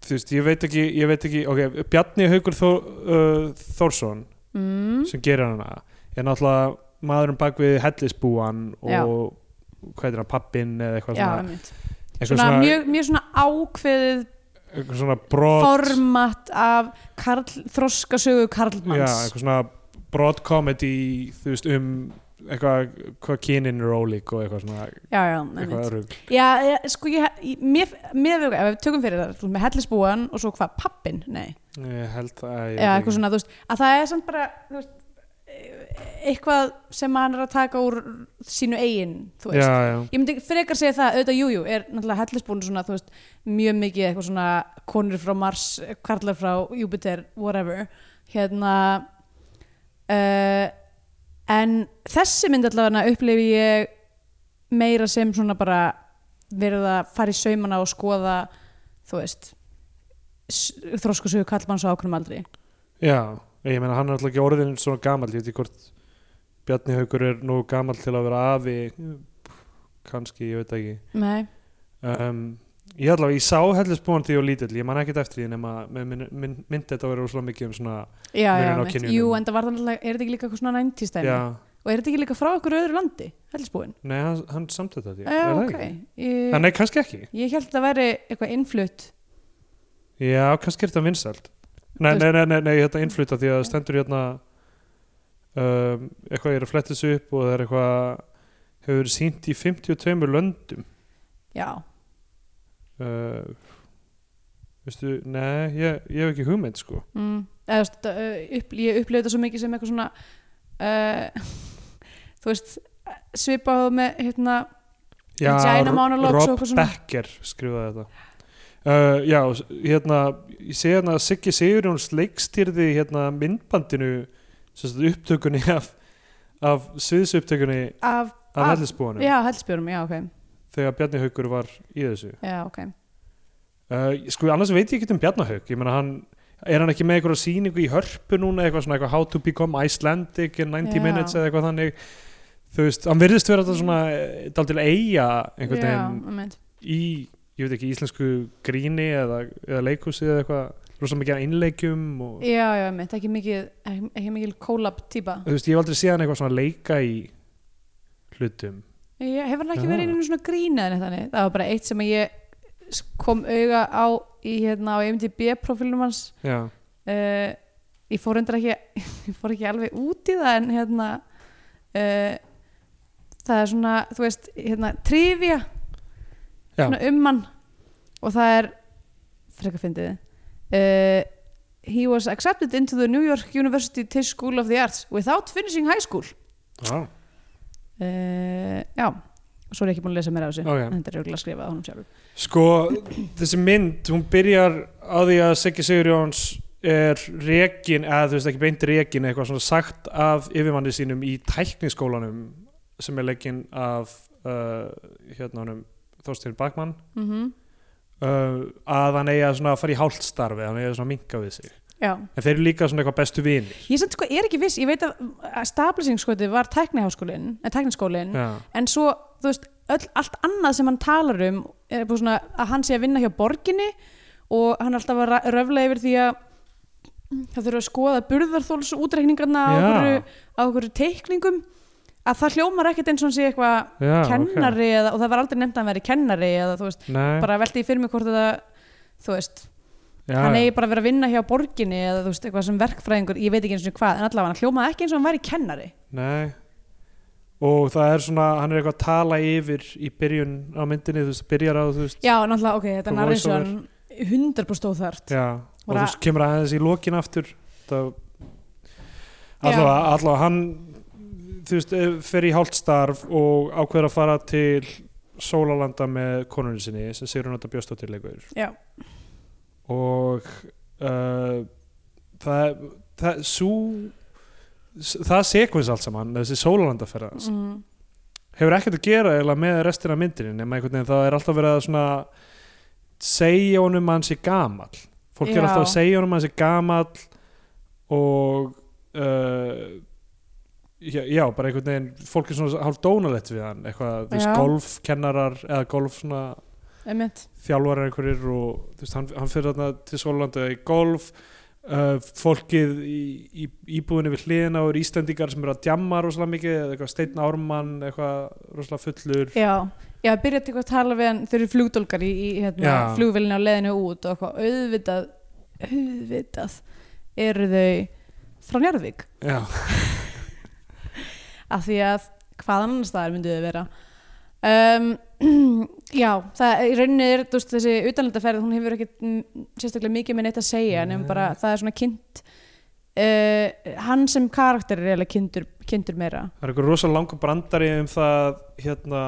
B: þú veist, ég veit ekki, ég veit ekki ok, Bjarni Haugur Þór, uh, Þórsson
C: mm,
B: sem gerir hana er náttúrulega maðurinn bak við hellisbúan og
C: Já.
B: hvað er það, pappinn eða eitthvað
C: já,
B: svona,
C: einmitt.
B: eitthvað
C: svona mjög, mjög svona ákveðið
B: eitthvað svona brot
C: format af karl, þroskasögu
B: já,
C: Karlmanns
B: eitthvað svona brot comedy þú veist um eitthvað hvað kynin er ólík og eitthvað svona
C: já, já,
B: eitthvað
C: einmitt.
B: rugg
C: já, já, sko ég, ég mér, mér, ef við tökum fyrir það þú veist, með hellisbúan og svo hvað, pappin, nei
B: ég held að ég veit
C: Já, eitthvað
B: ekki.
C: svona, þú veist, að það er samt bara þú veist, e- eitthvað sem hann er að taka úr sínu eigin, þú veist
B: já, já,
C: Ég myndi frekar segja það, auðvitað, jújú, jú, er náttúrulega hellisbúin svona, þú veist, mjög mikið eitthvað svona konur frá Mars, karlar frá Júpiter, whatever, hérna, uh, en þessi mynd allavega upplifi ég meira sem svona bara verið að fara í saumana og skoða, þú veist, þróskusugu kallmann svo ákveðum aldrei.
B: já, ég meina hann er alltaf ekki orðin svona gamall, ég veit ekki hvort Bjarni Haugur er nú gamall til að vera afi kannski, ég veit það ekki
C: Nei.
B: um, ég allavega, ég sá hellisbúan því og lítill, ég man ekkert eftir því nema með minn, minn, myndi þetta að vera úslega mikið um svona
C: Já, já,
B: Munurinn á
C: mitt.
B: kynjunum.
C: jú, en það var það náttúrulega, er þetta ekki líka eitthvað svona næntistæmi?
B: já,
C: Og er þetta ekki líka frá okkur öðru landi, hellisbúin?
B: nei, hann, hann samt þetta því,
C: Já,
B: er það
C: ok.
B: ekki?
C: Ég-
B: Þannig kannski ekki,
C: Ég held að það væri eitthvað innflutt
B: já, kannski er þetta vinsælt nei,
C: Þú
B: nei, nei, nei, nei, þetta innfluta því að það stendur hérna um, eitthvað ég er að fletta þessu upp og það er eitthvað hefur verið sýnt í 52 löndum
C: Já,
B: uh, veistu, nei ég, ég hef ekki hugmynd sko
C: mm. Eða, þú veist, uh, upp, ég upplifði þetta svo mikið sem eitthvað svona uh, þú veist svipað með hérna
B: Já,
C: Vagina
B: Ro-
C: monologues og
B: Rob
C: eitthvað svona.
B: Becker skrifaði þetta uh, Já, s- hérna ég segi hérna að Siggi Sigurjóns leikstýrði hérna myndbandinu sem sagt, upptökunni af, af sviðsupptökunni
C: af,
B: af
C: Af-
B: hellisbúanum
C: Ah, já, hellspjörum, já, ok
B: þegar Bjarni Haukur var í þessu
C: já, ok,
B: uh, Sko, annars veit ég ekki um Bjarni Hauk ég meina hann, er hann ekki með einhverja sýningu í hörpu núna, eitthvað svona eitthvað How to become Icelandic in 90
C: Já.
B: minutes eða eitthvað þannig þú veist, hann virðist vera þetta svona daldil eiga einhvern
C: já,
B: veginn
C: einmitt.
B: í, ég veit ekki, íslensku gríni eða, eða leikhúsi eða eitthvað rosa mikið af innleikjum og
C: já, já, einmitt, ekki mikið ekki, ekki mikið kólab típa
B: þú veist, ég hef aldrei séð hann eitthvað svona leika í hlutum
C: ég, hefur hann ekki
B: Já.
C: verið einu svona grína þannig, það var bara eitt sem að ég s- kom auga á í hérna á MDB profilnum hans
B: já,
C: uh, ég fór endur ekki ég fór ekki alveg út í það en hérna uh, það er svona, þú veist hérna, trivia
B: Já.
C: svona um hann og það er frekar fyndið uh, he was accepted into the New York University Tisch School of the Arts without finishing high school
B: já,
C: uh, já, svo er ég ekki búin að lesa mér á þessu
B: Ok.
C: þetta er auðvitað að skrifa á honum sjálfur
B: sko þessi mynd, hún byrjar á því að Siggi Sigurjóns er rekin, eða þú veist ekki beint rekin eitthvað svona sagt af yfirmanni sínum í tækniskólanum sem er leikin af uh, hérna honum Þorstein Bakmann
C: mm
B: uh, að hann eigi að svona fara í hálfstarfi hann eigi að svona minka við sig
C: já
B: En þeir eru líka svona eitthvað bestu vinir.
C: Ég samt sko er ekki viss, ég veit að, að stablisingsskotið var tækniháskólinn, en eh, tækniskólinn,
B: Já,
C: en svo, þú veist, öll, allt annað sem hann talar um er bara svona að hann sé að vinna hjá borginni og hann er alltaf að ra- röfla yfir því að það þurfa að skoða burðarþóls útreikningarna á
B: Já.
C: okkur, á okkur teikningum að það hljómar ekkert eins og hann sé eitthvað
B: Já, Ah, ok.
C: kennari eða, og það var aldrei nefnd að hann veri kennari eða þú veist,
B: Nei,
C: bara velti ég fyrir mig hvort þetta þú veist,
B: já,
C: hann
B: já.
C: eigi bara að vera að vinna hjá borginni eða þú veist, eitthvað sem verkfræðingur ég veit ekki eins og hvað, en allavega hann hljómaði ekki eins og hann væri kennari
B: Nei og það er svona, hann er eitthvað að tala yfir í byrjun á myndinni þú veist, byrjar á þú veist
C: já, en alltaf, ok, þetta
B: Og
C: er
B: voiceover.
C: narration 100% óþært
B: Já, og
C: Bara-
B: þú veist, kemur aðeins í lokin aftur það
C: Já.
B: allavega, allavega hann þú veist, eh, fer í hálfstarf og ákveður að fara til Sólalanda með konunni sinni sem Sigrun Óta Bjóstóttir leikur
C: Já.
B: og uh, það, það svo það sekvens allt saman þessi Sólalanda ferða
C: mm.
B: hefur ekkert að gera eiginlega með restina af myndinni nema einhvern veginn það er alltaf verið að svona segja honum að hann sé gamall fólk
C: Já.
B: er alltaf að segja honum að hann sé gamall og uh, já, já, bara einhvern veginn fólk er svona hálf dónalett við hann eitthvað, þú veist,
C: Já.
B: golfkennarar eða golf svona
C: einmitt
B: þjálfarar einhverjir og þú veist, hann, hann fyrir þarna til Sólanda í golf Uh, fólkið í, í, íbúðinu við hliðina og eru Íslendingar sem eru að djamma rosalega mikið, eða eitthvað Steinn Ármann eitthvað rosalega fullur
C: Já, já byrjaði eitthvað að tala við hann þau eru flugdólgar í, í hérna,
B: Já.
C: flugvélina á leðinu út og eitthvað auðvitað auðvitað eru þau frá Njarðvík
B: Já,
C: af því að hvaðan annar staðar myndu þau vera um, Já, það í rauninni er þú veist, þessi utanlandaferð, hún hefur ekkit mm, sérstaklega mikið með neitt að segja
B: Nei.
C: nefnum bara það er svona kynnt uh, hann sem karakter er eiginlega kynntur, kynntur meira
B: það er eitthvað rosalega langur brandari um það hérna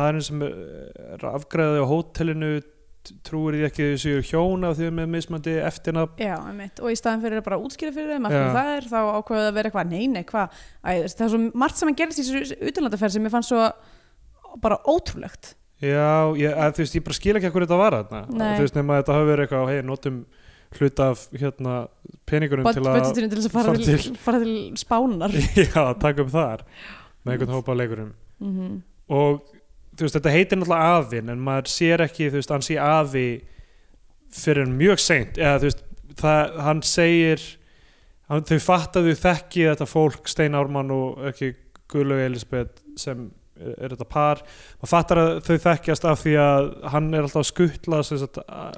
B: maðurinn sem er afgræði á hótelinu t- trúir því ekki að þau séu hjón af því að með mismandi eftirnafn
C: Já, einmitt, og í staðan fyrir að bara útskýra fyrir þeim af
B: Já.
C: hverju það er, þá ákveðu að vera eitthvað nei, nei, hvað, Æ, þú veist, það er svo margt sem að gerist í þessu utanlandaferð sem ég fann svo bara ótrúlegt
B: Já, ég, að, þú veist, ég bara skil ekki að hverju þetta var þarna
C: Nei.
B: þú veist, nema að þetta hafi verið eitthvað hei, notum hluta af hérna, peningunum til að
C: budgetinu til þess að fara,
B: fara
C: til,
B: til-
C: fara til spánar
B: Já, taka upp þar með einhvern hópa af leikurum
C: mm -hmm.
B: og þú veist, þetta heitir náttúrulega afinn en maður sér ekki, þú veist, hann sé afi fyrir en mjög seint eða þú veist, það, hann segir hann, þau fattaðu þekki þetta fólk, Stein Ármann og ekki Guðlaug Elisabeth sem er, er þetta par maður fattar að þau þekkjast af því að hann er alltaf að skuttla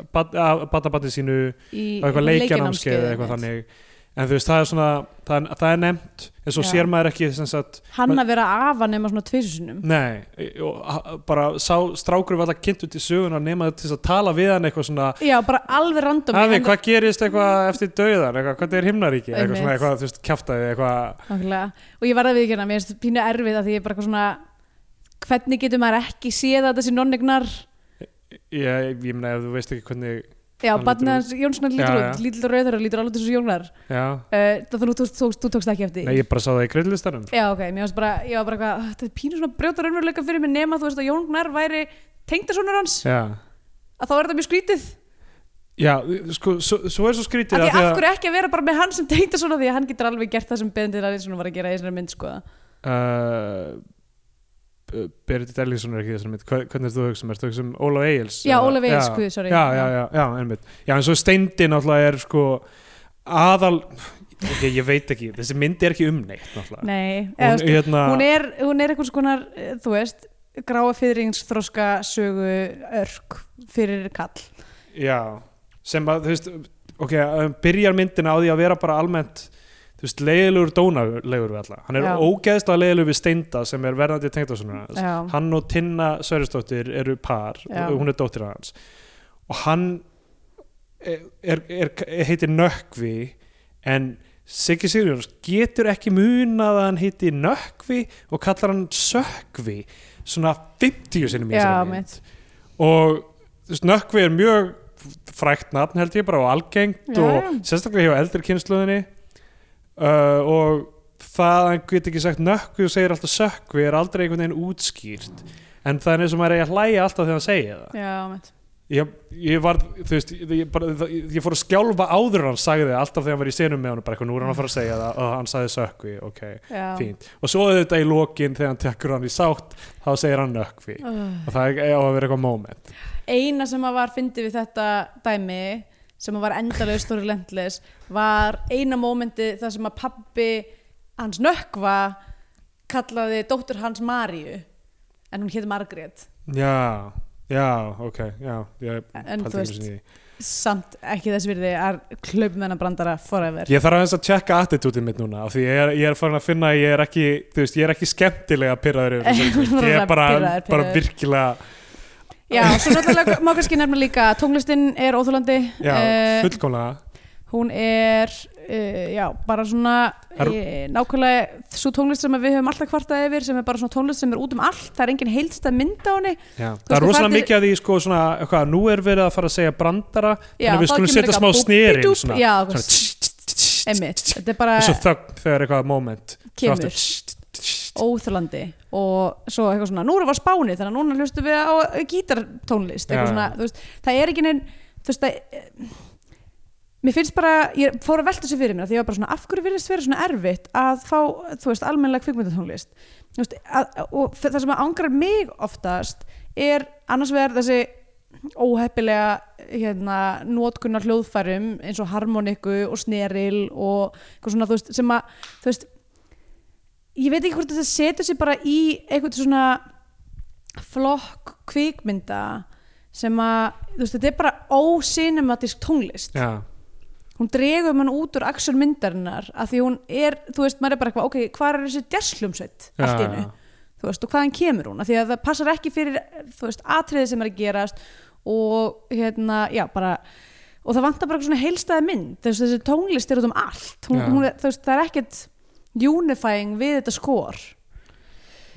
B: batabati sínu
C: í
B: á eitthvað leikjanámskeið eða eitthvað þannig en þú veist, það er svona, það er, það er nefnt en svo
C: Já.
B: sér maður ekki sem sagt
C: Hann að vera afa nema svona tvisunum
B: Nei, e, og ha- bara sá strákur var alltaf kynnt út í söguna nema til þess að tala við hann eitthvað svona
C: Já, bara alveg random
B: Afi, hvað gerist eitthvað eftir dauðan, eitthvað, hvað er himnaríki eitthvað
C: Einmitt.
B: svona, eitthvað, þú veist, kjaftaði eitthvað
C: Nákvæmlega. og ég varði að viðkjöna, mér finnst pínu erfið að því ég er bara eitthvað svona hvernig getur maður ekki séð að þessi nonnegnar
B: ég, ég meina, ef þú veist ekki hvernig
C: já,
B: Hann lítur
C: barnið
B: út.
C: hans Jónssonar lítur
B: Já,
C: út
B: já.
C: lítur rauður og lítur alveg til þessu Jónar uh,
B: já,
C: það þú, þú, þú, þú tókst ekki eftir
B: nei,
C: því.
B: ég bara sá það í kreidlistanum
C: já, ok, mér varst bara, ég var bara eitthvað "Ah, þetta er pínu svona brjóta raunveruleika fyrir mig nema þú veist að Jónar væri tengdasonur hans
B: já,
C: að þá er þetta mjög skrítið
B: já, sko, svo, svo er svo
C: af
B: skrítið af
C: því af hverju ekki að vera bara með hann sem tengdasonur því að hann getur alveg gert það sem Benedikt Arnaldsson var að gera í þessari mynd sko
B: uh, Berit Ellingsson eh, er ekki þessar mynd Hva- hvernig er þú að hugsa um, ertu að hugsa um Ólaf Egils
C: Já, Ólaf Egils, guð, sorry.
B: já, já, já, já, einmitt já, en svo Steindi náttúrulega er sko aðal ok, ég veit ekki, þessi mynd er ekki um neitt náttúrulega
C: nei, eða,
B: hún,
C: þú veist,
B: hérna,
C: hún er, hún er eitthvað svona þú veist, gráa fyrringsþroska sögu örk fyrir kall
B: já, sem að, þú veist ok, um, byrjar myndina á því að vera bara almennt þú veist, leiðilegur dónalegur við alla hann er
C: Já.
B: ógeðslega leiðilegur við Steinda sem er verðandi tengdarsonur hans
C: já,
B: hann og Tinna Sörisdóttir eru par
C: Já.
B: og hún er dóttir hans og hann e, er, er, er, heitir Nökkvi en Siggi Sigurjóns getur ekki munað að hann heiti Nökkvi og kallar hann Sökkvi svona 50 sinnum í
C: Já,
B: þessari mynd og þú veist, Nökkvi er mjög frækt nafn held ég bara og algengt
C: Já,
B: og
C: já.
B: sérstaklega hjá eldri kynsluðinni uh, og það að hann geti ekki sagt nökkvi og segir alltaf sökkvi er aldrei einhvern veginn útskýrt en það er eins og maður eigi að hlæja alltaf þegar hann segir það
C: já, mitt
B: ég, ég var, þú veist ég, ég, bara, það- ég fór að skjálfa áður en hann sagði það alltaf þegar hann var í senum með hann bara eitthvað, nú er hann að fara að segja það og hann sagði sökvi, ok,
C: Já.
B: fínt og svo auðvitað í lokin þegar hann tekur hann í sátt þá segir hann nökvi og það er- á að vera eitthvað moment
C: eina sem að var fyndið við þetta dæmi sem að var endalaust og relentless var eina mómenti þar sem að pappi hans nökkva kallaði dóttur hans Maríu en hún hétt Margrét
B: já, já, ok, já ég,
C: En
B: Eh, pældi
C: þú
B: ekki
C: veist-
B: einu sinni í því.
C: samt ekki þess virði að klöp með hennar brandara forever
B: Ég þarf aðeins að tjekka attitútið mitt núna af því ég er, ég er farin að finna að ég er ekki þú veist, ég er ekki skemmtilega pyrraður yfir þessu
C: Þú ert
B: öllu. ég er
C: bara
B: bara,
C: pirraður,
B: bara
C: pirraður.
B: virkilega
C: Já, svo náttúrulega má kannski nefna líka að tónlistin er óþólandi
B: já,
C: Eh,
B: fullkomlega
C: hún er uh, já, bara svona
B: Það
C: uh, nákvæmlega svo tónlist sem við höfum alltaf kvartað yfir sem er bara svona tónlist sem er út um allt það er engin heildstæð mynd á henni
B: já.
C: veist,
B: það er
C: þú
B: rosalega
C: ferð til-
B: mikið að því sko, svona, eitthvað, nú er verið að fara að segja brandara
C: Já,
B: þannig við
C: þá
B: skulum
C: kemur
B: setja smá
C: eitthvað
B: snerin
C: búbidúp,
B: svona,
C: já,
B: svona,
C: eitthvað
B: tss, tss, tss, tss,
C: Einmitt, þetta er bara
B: og svo þögn þegar eitthvað moment Svo
C: Kemur.
B: aftur tss, tss, tss, tss.
C: óþjólandi og svo eitthvað svona, nú erum við á Spáni þannig að núna hlustum við á
B: Já,
C: gítartónlist eitthvað
B: já.
C: svona, þú veist, það er ekki neinn þú veist, það mér finnst bara, ég fór að velta þessu fyrir mér af því ég var bara svona, af hverju virðist vera svona erfitt að fá, þú veist, almennlega kvikmyndatónlist þú veist, að, og það sem að angrar mig oftast er annars vegar þessi óheppilega hérna, notkunnar hljóðfærum eins og harmoniku og sneril og eitthvað svona, þú veist, sem að þú veist, ég veit ekki hvort þetta setur sér bara í eitthvað svona flokk kvikmynda sem að, þú veist, þetta er bara ósinematisk tónlist
B: já,
C: hún dregur mann út úr aksjón myndarinnar af því hún er, þú veist, maður er bara eitthvað ok, hvað er þessi djarsljumsveit
B: Já,
C: allt í
B: já,
C: einu,
B: já.
C: þú veist, og hvaðan kemur hún af því að það passar ekki fyrir, þú veist, atriði sem er að gerast og hérna, já, bara og það vantar bara eitthvað svona heilstæði mynd þessi, þessi tónlist er út um allt hún,
B: Já.
C: hún, er- þú veist, það er ekkert unifying við þetta skor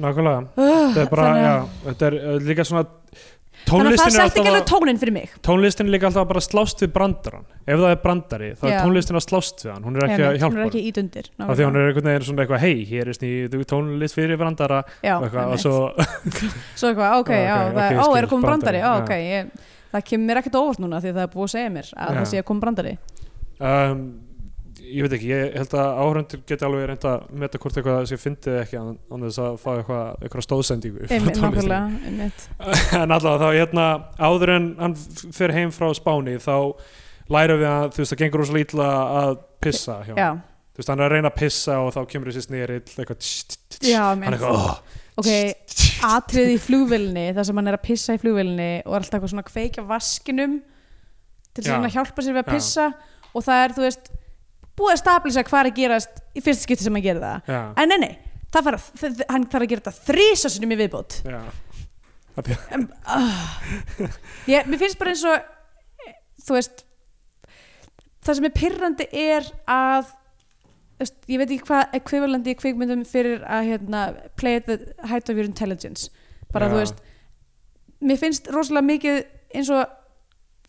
B: nákvæmlega
C: uh,
B: þetta er bara,
C: þannig
B: já,
C: að-
B: þetta er uh, líka svona
C: þannig að það
B: tónlistin er
C: setti ekki
B: alltaf
C: alveg
B: að
C: tónin fyrir mig
B: tónlistin er líka alltaf bara að slást við brandaran ef það er brandari, þá er
C: Já.
B: tónlistin að slást við hann hún er ekki að
C: Einmitt, hún
B: hjálpa
C: er
B: hann
C: ekki ít undir
B: af því hún er einhvern veginn svona eitthvað hei, hér er snýð tónlist fyrir brandara
C: já,
B: og eitthvað, og
C: einmitt.
B: svo,
C: Svo eitthvað, ok,
B: Já, ok,
C: já, það,
B: ok,
C: ó,
B: skil,
C: er að koma
B: brandari,
C: brandari, ó,
B: já.
C: ok, ég, það kemur mér ekkert á óvart núna því það er búið að segja mér að
B: Já.
C: það sé að koma brandari.
B: um, ég veit ekki ég held að áhörundur geti alveg reynda að meta hvort eitthvað sem fyndið ekki án án þess að fá eitthvað, eitthvað stóðsendingu frá
C: Einmitt,
B: tónlistinni.
C: nákvæmlega, einmitt.
B: en allavega þá hérna áður en hann f- fer heim frá Spáni þá læra við að þú veist það gengur úr svo lítla að pissa hjá honum.
C: Já,
B: þú veist, hann er að reyna að pissa og þá kemur þessi snerill eitthvað tss, tss, tss,
C: já,
B: hann er
C: einmitt.
B: eitthvað oh,
C: Ok, atriði í flugvilni, það sem hann er að pissa í flugvilni og er alltaf eitthvað svona að kveikja á vaskinum til
B: Já.
C: þess að hjálpa sér við að
B: Já.
C: pissa og það er, þú veist, búið að stablisa hvað er að gerast í fyrsta skipti sem hann gerir það.
B: já,
C: En nei, nei, það fara, hann þarf að gera þetta þrísa sinum í viðbót.
B: já,
C: ég, mér finnst bara eins og eh, þú veist það sem er pyrrandi er að þú veist, ég veit ekki hvað ekvivalandi í kvikmyndum fyrir að hérna, play at the height of your intelligence bara
B: Já.
C: þú veist mér finnst rosalega mikið eins og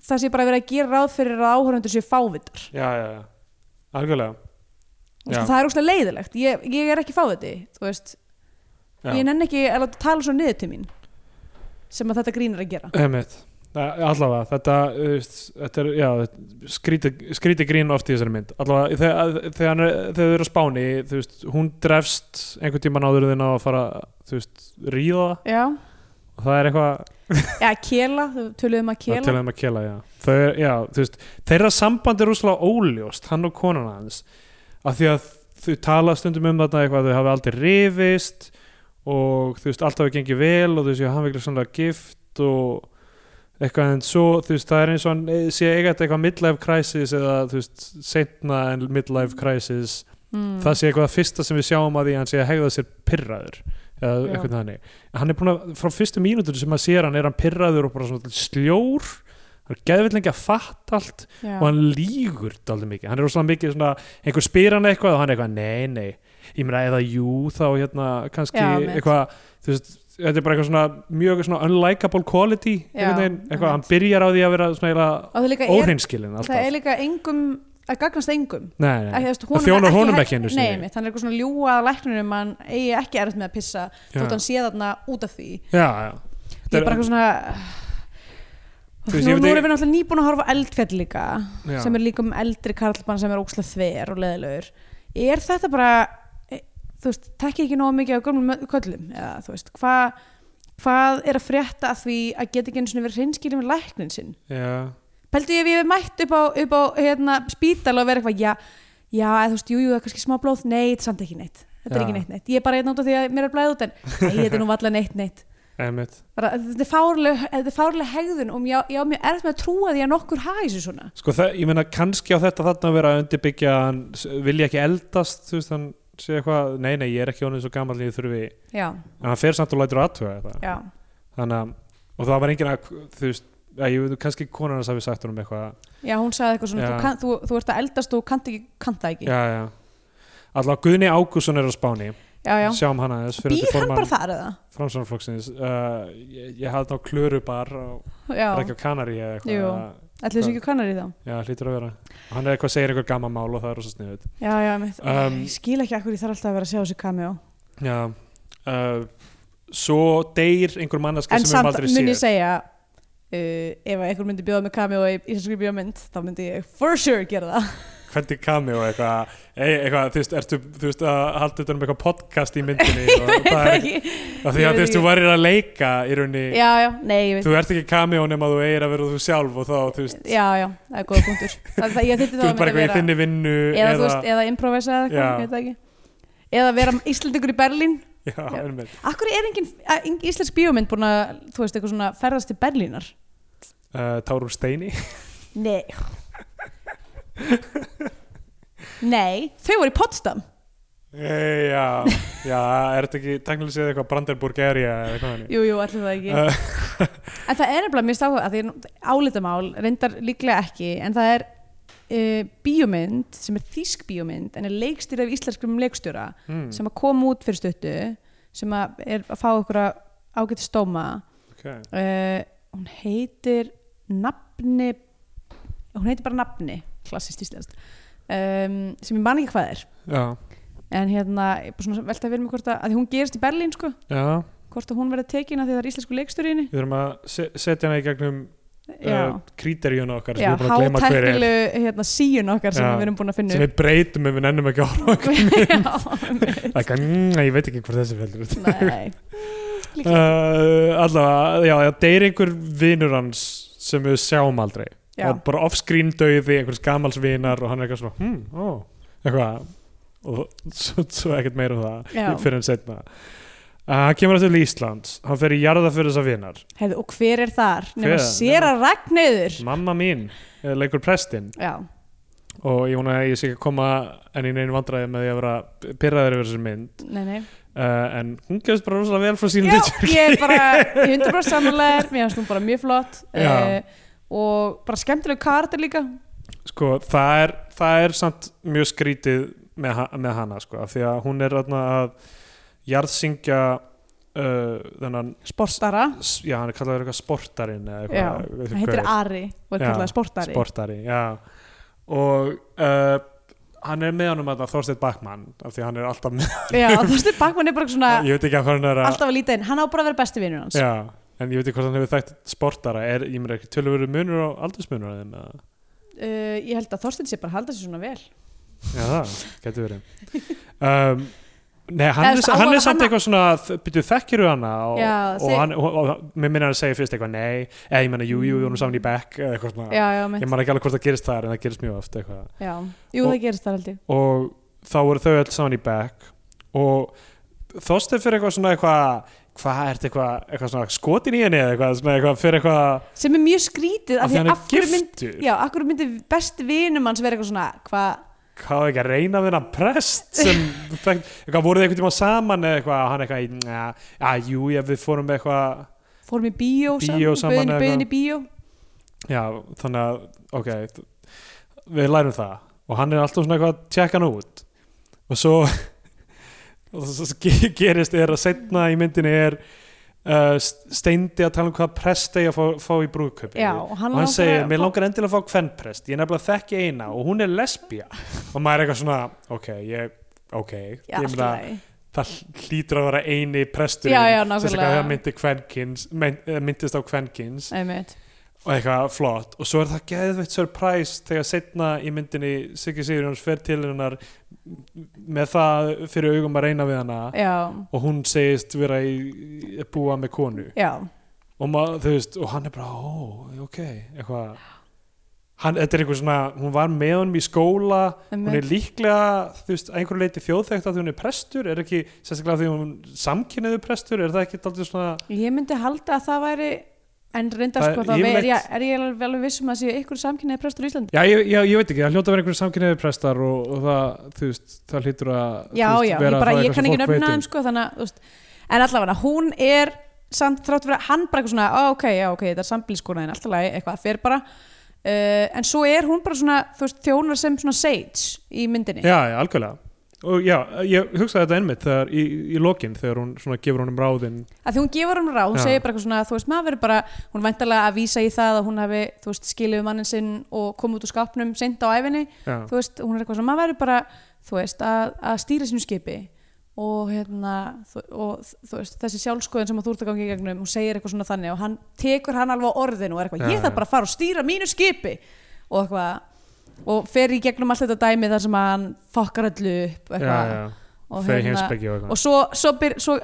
C: það sé bara verið að gera ráð fyrir að áhörundur séu fávitar
B: já, já, já. algjörlega
C: Þú veist,
B: Já.
C: það er rosalega leiðilegt, ég, ég er ekki fáviti þú veist,
B: já.
C: ég nenn ekki að láta tala svo niður til mín sem að þetta grínir að gera
B: Einmitt. Það- Allavega, þetta, þú veist, þetta er, já, skrítið skríti grín oft í þessari mynd. Allavega, þegar, þegar, hann er- þegar þau eru á Spáni, þú veist, hún drefst einhvern tímann áður þinn á að fara, þú veist, ríða
C: já,
B: og það er eitthvað,
C: eða kela, þú töluðum að
B: það
C: kela
B: er til þeim að kela, já. Þau, er- já, þú veist, þeirra samband er rússalega óljóst, hann og konan hans, af því að þau tala stundum um þarna eitthvað, að þau hafi aldrei rifist og þú veist, allt hafi gengið vel og þú veist, ég hafi ekki sannlega gift og eitthvað en svo þú veist það er eins og hann eh, sé eiga þetta eitthvað midlife crisis eða þú veist setna en midlife crisis
C: mm.
B: um- það sé eitthvað það fyrsta sem við sjáum að því að hann sé að hegða sér pirraður eða
C: Já.
B: eitthvað þannig hann er búin að frá fyrstu mínútur sem maður sér hann er hann pirraður og bara svona sljór hann er geðvill lengi að fatta allt
C: Já.
B: og hann lýgur daldið mikið hann er svona mikið svona einhver spyr hann eitthvað og hann er eitthvað nei nei ég meina eða jú þá hérna kannski
C: Já, mitt.
B: eitthvað þú veist þetta er bara eitthvað svona mjög svona unlikable quality
C: Já,
B: einhvern veginn, eitthvað hann
C: mitt.
B: byrjar á því að vera svona eiginlega
C: og það líka er,
B: óhreinskilin alltaf
C: það er líka engum að gagnast engum
B: nei,
C: Ekki,
B: nei.
C: þú veist,
B: það þjónar
C: er
B: honum
C: hæ-
B: ekki einu
C: nei,
B: sinni.
C: mitt, hann er eitthvað svona ljúa að læknir um hann eigi ekki erfitt með að pissa
B: Já.
C: þótt hann sé þarna út af því
B: já, já
C: ég er bara eitthvað svona
B: Þú veist,
C: uh, Nú,
B: ég
C: nú
B: veit
C: erum
B: ekki-
C: við náttúrulega nýbúin að horfa á eldfjall líka
B: Já.
C: sem er líka um eldri karlmann sem er ókslega þver og leðilegur er þetta bara e, þú veist, tekki ekki nógu mikið á gömlum köllum eða þú veist, hvað hvað er að frétta af því að geta ekki einu sinni verið hreinskilið með læknin sinn
B: Já,
C: Pældu ég ef ég hef mætt upp á, upp á hérna, spítal og verið eitthvað já, já, eða þú veist, jú, jú, það er kannski smá blóð neitt, samt ekki neitt, þetta er
B: Já.
C: ekki neitt neitt ég er bara hérna út af því að mér er blæð út en nei, þetta er nú valla neitt neitt
B: einmitt
C: bara, þetta er fárlega, þetta er fárlega hegðun og ég á- ég á mjög erft með að trúa því að nokkur hafi þessu svona
B: Sko það, ég meina kannski á þetta þarna að vera að undirbyggja að hann s- vilja ekki eldast þú veist hann sé eitthvað, nei nei ég er ekki honum svo gammal ég þurfi,
C: já,
B: en hann fer samt og lætur aðtuga þetta,
C: já,
B: þannig að og það var enginn að, þú veist að ég veit, kannski konan hans hafi sagt honum eitthvað
C: já, hún sagði eitthvað svona
B: Já.
C: þú, kan, þú, þú ert að eldast og kannt ekki, kannt það ekki já,
B: já, já, allavega Guðni Ágússon er á Spáni,
C: já,
B: sjáum hana aðeins
C: býr
B: fyrrverandi
C: hann
B: formann
C: bara þar eða?
B: Framsóknarflokksins. uh, ég, ég hafði þá klörubar og
C: já,
B: er ekki á Kanari eða
C: Jú.
B: eitthvað,
C: allir þessu ekki kannar í þá
B: já hlýtur að vera hann er eitthvað, segir eitthvað gammal mál og það er rosa sniðut
C: já, já, mitt,
B: Um, Sko,
C: ég skil ekki akkur ég þarf alltaf að vera að sjá þessu kamjó
B: Já uh, Svo deyr einhver manneska
C: en
B: sem við höfum
C: samt
B: aldrei
C: mun
B: séð
C: ég segja Uh, ef að einhver myndi bjóða með kamjó í íslenskri bjóðmynd, þá myndi ég for sure gera það.
B: Hvernig kami og eitthvað ey, eitthvað, þú veist, ertu, þú veist að halda utan um eitthvað podcast í myndinni og það er
C: Ekki-
B: af því
C: ég
B: að
C: veit
B: þú veist,
C: ekki.
B: þú varir að leika í rauninni,
C: já, já, nei, ég veit,
B: þú ert ekki kami og nema þú eigir að vera þú sjálf og þá, þú veist
C: já, já, það er góða punktur. Það, það, ég þyrfti þá
B: þú
C: að
B: ert bara eitthvað í
C: myndi vera-
B: þinni vinnu
C: eða, þú veist, eða improvisa eða
B: Já.
C: eitthvað, ég veit það ekki eða vera Íslandingur í Berlín
B: já, einmitt.
C: Akkur er engin, að- engin íslensk bíómynd búin að, þú veist, eitthvað svona ferðast til Berlínar
B: uh, Tárum Steini
C: Nei Nei, þau voru í Potsdam
B: Ey, Eh, Já, já, er þetta ekki teknilega séð eitthvað Brandenburg area eða eitthvað þannig?
C: Jú, jú, allir það ekki
B: Uh,
C: En það er nefnilega mist áhuga, að því er nú- álitamál reyndar líklega ekki, en það er uh, bíómynd, sem er þýsk bíómynd en er leikstýrð af íslenskum leikstjóra
B: mm,
C: sem að koma út fyrir stuttu sem að er að fá okkur að ágæti stóma
B: okay.
C: uh, hún heitir nafni hún heitir bara nafni klassist íslenskt um, sem ég man ekki hvað er
B: Já,
C: en hérna, ég er bara svona að velta fyrir mig hvort að, að því hún gerist í Berlín sko,
B: já
C: hvort að hún verið tekin að því það er íslensku leikstjóriðinni
B: Við þurfum að se- setja hana í gegnum uh,
C: já,
B: kríterjuna okkar
C: já
B: sem við erum búin að gleyma hver er
C: hátæknilegu hérna, síun okkar sem
B: Já,
C: við erum búin að finna
B: sem við breytum ef við nennum ekki að horfa á okkur
C: við
B: like, mm, ég veit ekki hvort þessi feldur út
C: nei,
B: uh, allavega, já, það deyr einhver vinur hans sem við sjáum aldrei
C: já,
B: og bara offscreen döiði einhvers gamals vinar og hann er eitthvað svona hm, ó, eitthvað og svo, svo ekkert meira um það
C: já.
B: fyrir en setna Uh, hann kemur til Íslands, hann fer í jarða fyrir þessa vinar
C: Heyrðu, og hver er þar? nema
B: Hver?
C: sér að ragneyður
B: mamma mín, eh, leikur prestinn
C: já,
B: og ég vona að ég sé ekki að koma en í neinu vandræði með því að vera pyrraður yfir þessari mynd
C: nei, nei
B: uh, en hún gefst bara rosalega vel frá sínum
C: Já,
B: hlutverki.
C: ég er bara, ég hundur bara samanlegar mér finnst hún bara mjög flott
B: Já.
C: uh, og bara skemmtileg kardir líka
B: sko, það er, það er samt mjög skrítið með, ha- með hana sko, af því að hún er þarna að jarðsingja uh, þennan,
C: sportara,
B: s- já hann er kallaður eitthvað sportarinn eða
C: já,
B: eitthvað, veit
C: hann
B: ekki hvað
C: heitir
B: er.
C: Ari og er
B: Já,
C: kallað sportari
B: sportari já. og uh, hann er með honum að Þorsteinn Bakman af því að hann er alltaf með,
C: já, Þorstin Bakman er bara svona
B: ég veit ekki að hvað hann er að
C: alltaf að líta inn, hann á bara að vera besti vinur hans
B: Já, en ég veit ekki hvort hann hefur þægt sportara er, ég meina ekki tölvöru munur og aldursmunur að þeim eða?
C: uh, ég held að Þorstin sé bara að halda sér svona vel
B: Já, það, getur verið um, Nei, hann, er,
C: Eða, þú veist, á
B: hann
C: að-
B: er samt
C: hann-
B: eitthvað svona byrjuð þekkiru hana og,
C: Já,
B: og,
C: þeg-
B: hann, og, og, og mér minna hann að segja fyrst eitthvað nei eða ég meina jú, jú, við vorum saman í bekk eða eitthvað svona
C: já, já,
B: Ég
C: mitt,
B: man ekki alveg hvort það gerist þar en það gerist mjög oft eitthvað
C: já, jú
B: Og-
C: það gerist þar held ég
B: og þá voru þau öll saman í bekk og þóstið fyrir eitthvað svona eitthvað hvað ert eitthvað, eitthvað svona skotin í henni eða eitthvað, svona eitthvað fyrir eitthvað
C: sem er mjög skrítið af
B: af því hann
C: af
B: er
C: hverju mynd-
B: giftur
C: já, akkur myndi besti vinum hans vera eitthvað svona hvað,
B: hvað ekki að reyna við hann prest sem, fekk- eitthvað voruð þið einhvern tíma saman eða eitthvað, og hann eitthvað ja, að jú, ég, við fórum með eitthvað
C: fórum í bíó,
B: Bíó saman
C: saman,
B: eða
C: bauðin í bíó
B: já, þannig að, ok þ- við lærum það og hann er alltaf svona eitthvað að tjekka hann út og svo og svo svo ge- gerist er að setna í myndinni er uh, steindi að tala um hvað prest eigi að fá, fá í brúðkaupi
C: já, og hann,
B: og hann
C: langar
B: segir,
C: að-
B: mér langar endilega að fá kvennprest ég er nefnilega þekki eina og hún er lesbía og maður er eitthvað svona, ok ég, ok,
C: Já,
B: ég
C: allt í
B: meina
C: lagi.
B: það hlýtur að vera eini presturinn
C: Já, já, nákvæmlega.
B: sérstaklega þegar myndi kvenkins, mynd, eh, myndist á kvenkins
C: Einmitt.
B: og eitthvað flott og svo er það geðveitt surprise þegar setna í myndinni Siggi Sigurjóns fer til hennar með það fyrir augum að reyna við hana
C: já,
B: og hún segist vera í að búa með konu
C: já,
B: og, mað, veist, og hann er bara, ó, ok eitthvað hann, þetta er eitthvað svona, hún var með honum í skóla hún er
C: Einmitt.
B: líklega, þú veist, að einhverju leiti þjóðþekkt að því hún er prestur er ekki, sérstaklega því hún samkynniðu prestur er það ekki daldið svona
C: ég myndi halda að það væri en reyndar
B: Það er
C: sko þá er
B: yfirleitt-
C: ég, er ég alveg alveg viss um að séu ykkur samkynniði prestur í Íslandi
B: Já, ég, já, ég veit ekki, það hljóta að vera einhverjum samkynniðu prestar og, og það, þú veist, það hlýtur að þú
C: já,
B: veist,
C: já, ég,
B: vera
C: bara,
B: það
C: ég
B: eitthvað
C: kann
B: sem
C: ekki
B: fólk
C: nöfna
B: veit um.
C: þeim sko, þannig, að, þú veist, en allavega hún er samt þrátt fyrir að hann bara eitthvað svona "Ó, ok, já, ok, þetta er sambílskona en alltaf lagi, eitthvað, fer bara uh, en svo er hún bara svona, þú veist, þjónar sem svona sage í myndinni
B: Já, já, algjörlega og já, ég hugsaði þetta einmitt þegar, í, í lokin þegar hún svona gefur honum ráðin
C: að því hún gefur hún ráð, hún
B: Já.
C: segir bara eitthvað svona þú veist, maður verður bara, hún væntalega að vísa í það að hún hafi, þú veist, skilið við mannin sinn og kom út úr skápnum seint á æfinni
B: já,
C: þú veist, hún er eitthvað svona, maður verður bara þú veist, að, að stýra sinu skipi og hérna þú, og þú veist, þessi sjálfskoðin sem að þú ert að gangi í gegnum hún segir eitthvað svona þannig og hann tekur hann alveg á orðinu og er eitthvað,
B: Já,
C: ég þarf
B: já.
C: bara að fara og stýra mínu skipi og eitthvað og fer í gegnum allt þetta dæmi þar sem að hann fokkar allu upp
B: já,
C: eitthvað
B: já,
C: og,
B: þegar
C: hérna,
B: heimspeki og
C: og
B: eitthvað
C: svo, svo, byr, svo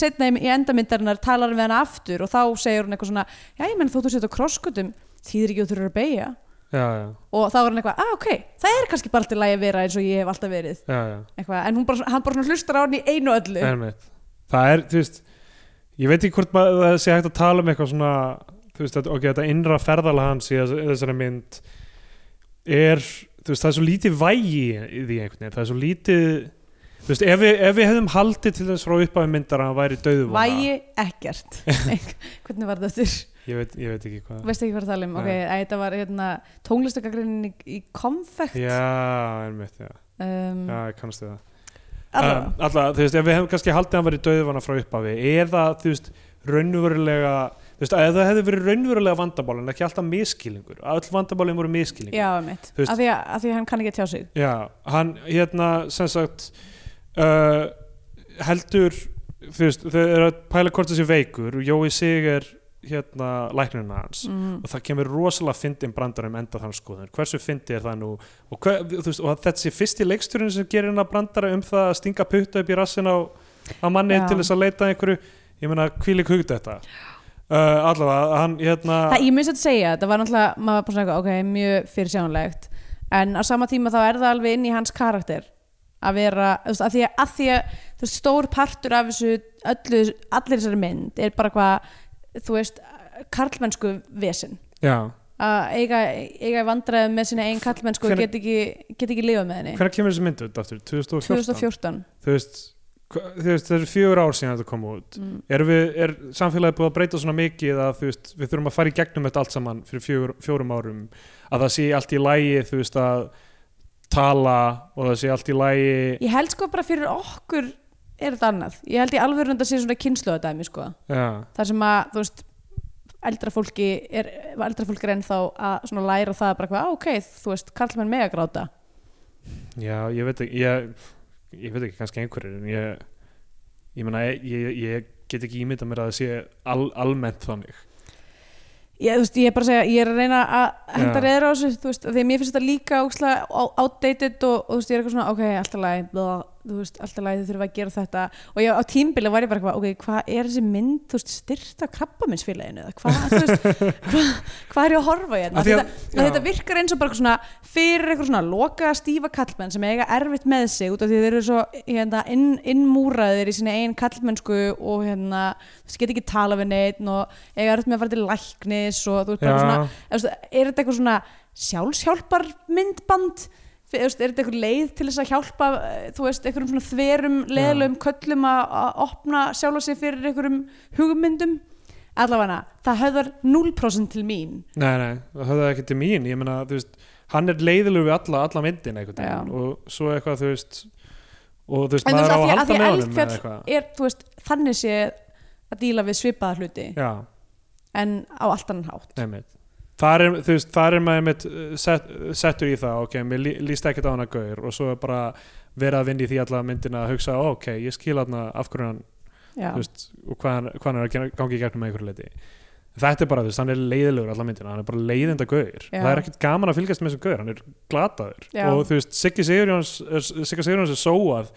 C: setna í endamindarinnar talar hann við hann aftur og þá segir hún eitthvað svona já ég menn þó þú setur krosskutum þýðir ekki að þú eru að beigja
B: já, já,
C: og þá var hann eitthvað, að ok, það er kannski bara alltaf lægi að vera eins og ég hef alltaf verið
B: já, já
C: eitthvað, en hún bara, hann bara svona hlustar á hann í einu öllu
B: Einmitt. Það er, þú veist ég veit ekki hvort maður það sé hægt að tala um eitthvað svona, þú veist, þetta, ok, þetta innra ferðala hans í þess- þessari mynd er, þú veist, það er svo lítið vægi í því einhvern veginn, það er svo lítið þú veist, ef við, ef við hefðum haldið til þess frá upphæfi myndar að hann væri döðvona
C: vægi ekkert hvernig var það þurr,
B: ég veit, ég veit ekki hvað
C: veist ekki hvað það tala um ok,
B: Nei.
C: að þetta var hérna, tónlistakagrinnin í, í konfekt
B: Já, einmitt, já,
C: um,
B: já, ég kannast við það
C: allavega.
B: um, Alla, þú veist, ef við hefum kannski haldið að hann væri döðvana frá upphafi eða, þú veist, raunverulega þú veist, ef það hefði verið raunverulega vandabál en ekki alltaf miskilningur öll vandabálin voru miskilningur
C: já, mitt,
B: Þú veist-
C: af því, að, af því að hann kann ekki að tjá sig
B: Já, hann, hérna, sem sagt uh, heldur þú veist, þau eru að pæla hvort þessi veikur og Jói Sig er hérna læknirinn hans
C: mm.
B: og það kemur rosalega fyndin brandar um enda þann skoðun hversu fyndi er það nú og, hver, þú veist, og þessi fyrsti leiksturinn sem gerir hennar brandara um það að stinga putta upp í rassin á, á manni
C: Já.
B: til þess að leita að einhverju ég meina hvíli kugt þetta uh, allavega hann hérna
C: það, ég minnst að segja, það var náttúrulega maður var bara svona eitthvað, ok, mjög fyrirsjánlegt en á sama tíma þá er það alveg inn í hans karakter að vera, þú veist, að því að, að, því að þú veist, stór partur af þessu öllu, allir þessari mynd er bara hvað, þú veist karlmennsku vesen
B: já,
C: að eiga, eiga í vandræðum með sína einn karlmennsku og
B: Hvenær-
C: get ekki, get ekki lifað með henni
B: hvernig kemur þessi mynd út aftur? 2014?
C: 2014
B: Þú veist, hva- þú veist, það eru fjögur ár síðan þetta kom út
C: Mm.
B: er, við, er samfélagið búið að breyta svona mikið að þú veist, við þurfum að fara í gegnum þetta allt saman fyrir fjögur, fjórum árum að það sé allt í lægi þú veist að tala og það sé allt í lægi
C: ég held sko bara fyrir okkur er þetta annað, ég held í alveg að þetta sé svona kynslu að dæmi sko
B: já,
C: þar sem að þú veist eldra fólki er, eldra fólk er ennþá að svona læra það bara hvað, ok, þú veist, karlmenn mega gráta
B: já, ég veit ekki ég, ég veit ekki kannski einhverjir en ég, ég meina ég, ég, ég get ekki ímynda mér að það sé al, almennt þannig
C: ég, þú veist, ég er bara að segja, ég er að reyna að henda
B: Já.
C: reyður á þessu, þú veist, af því að mér finnst þetta líka ókslega á- outdated og, og þú veist, ég er eitthvað svona, ok, alltaf læg þú veist, alltaf læg, þau þurfa að gera þetta og ég, á tímbili var ég bara eitthvað, ok, hvað er þessi mynd, þú veist, styrta krabbaminnsfélaginu eða hvað, þú veist, hvað hva er ég að horfa
B: Af
C: hérna,
B: því
C: Af því
B: að-
C: þetta,
B: já.
C: þetta virkar eins og bara eitthvað svona fyrir eitthvað svona loka stífa kallmenn sem eiga erfitt með sig út af því þeir eru svo hérna, inn, innmúraðir í sinni einn kallmennsku og hérna, þessi geta ekki tala við neitt og eiga erfitt með að fara til læknis og þú veist bara svona,
B: já,
C: eða, þú veist, er þetta eitthvað svona sjálfshjálpar myndband Þú veist, er þetta eitthvað leið til þess að hjálpa eh, þú veist, einhverjum svona þverum, leðlum köllum að að opna sjálfa sig fyrir einhverjum hugmyndum allavega, það höfðar 0% til mín
B: nei, nei, það höfðu ekki til mín ég meina, þú veist, hann er leiðilegur við alla, alla myndin einhvern veginn
C: Já.
B: og svo eitthvað, þú veist og þú veist,
C: En þú
B: maður
C: veist,
B: á að
C: af því- af
B: halda
C: því
B: með honum
C: eldfjall-
B: eða eitthvað
C: er, þú veist, þannig sé að díla við svipaða hluti
B: já,
C: en á allt annan hátt
B: nefnir þar er, þú veist, þar er maður einmitt uh, set, uh, settur í það, ok, mér lí- líst ekkert á hana gaur og svo er bara verið að vinna í því alla myndina að hugsa, ó, ok, ég skil hana af hverju hann,
C: Já,
B: þú veist, og hvað hann, hvað hann er að gera- gangi í gegnum með einhverju leiti þetta er bara þess, hann er leiðilegur allar myndina, hann er bara leiðinda gauður
C: Já.
B: það er ekkert gaman að fylgjast með þessum gauður, hann er glataður
C: Já.
B: og þú veist, Siggi Sigurjóns Siggi Sigurjóns er sóað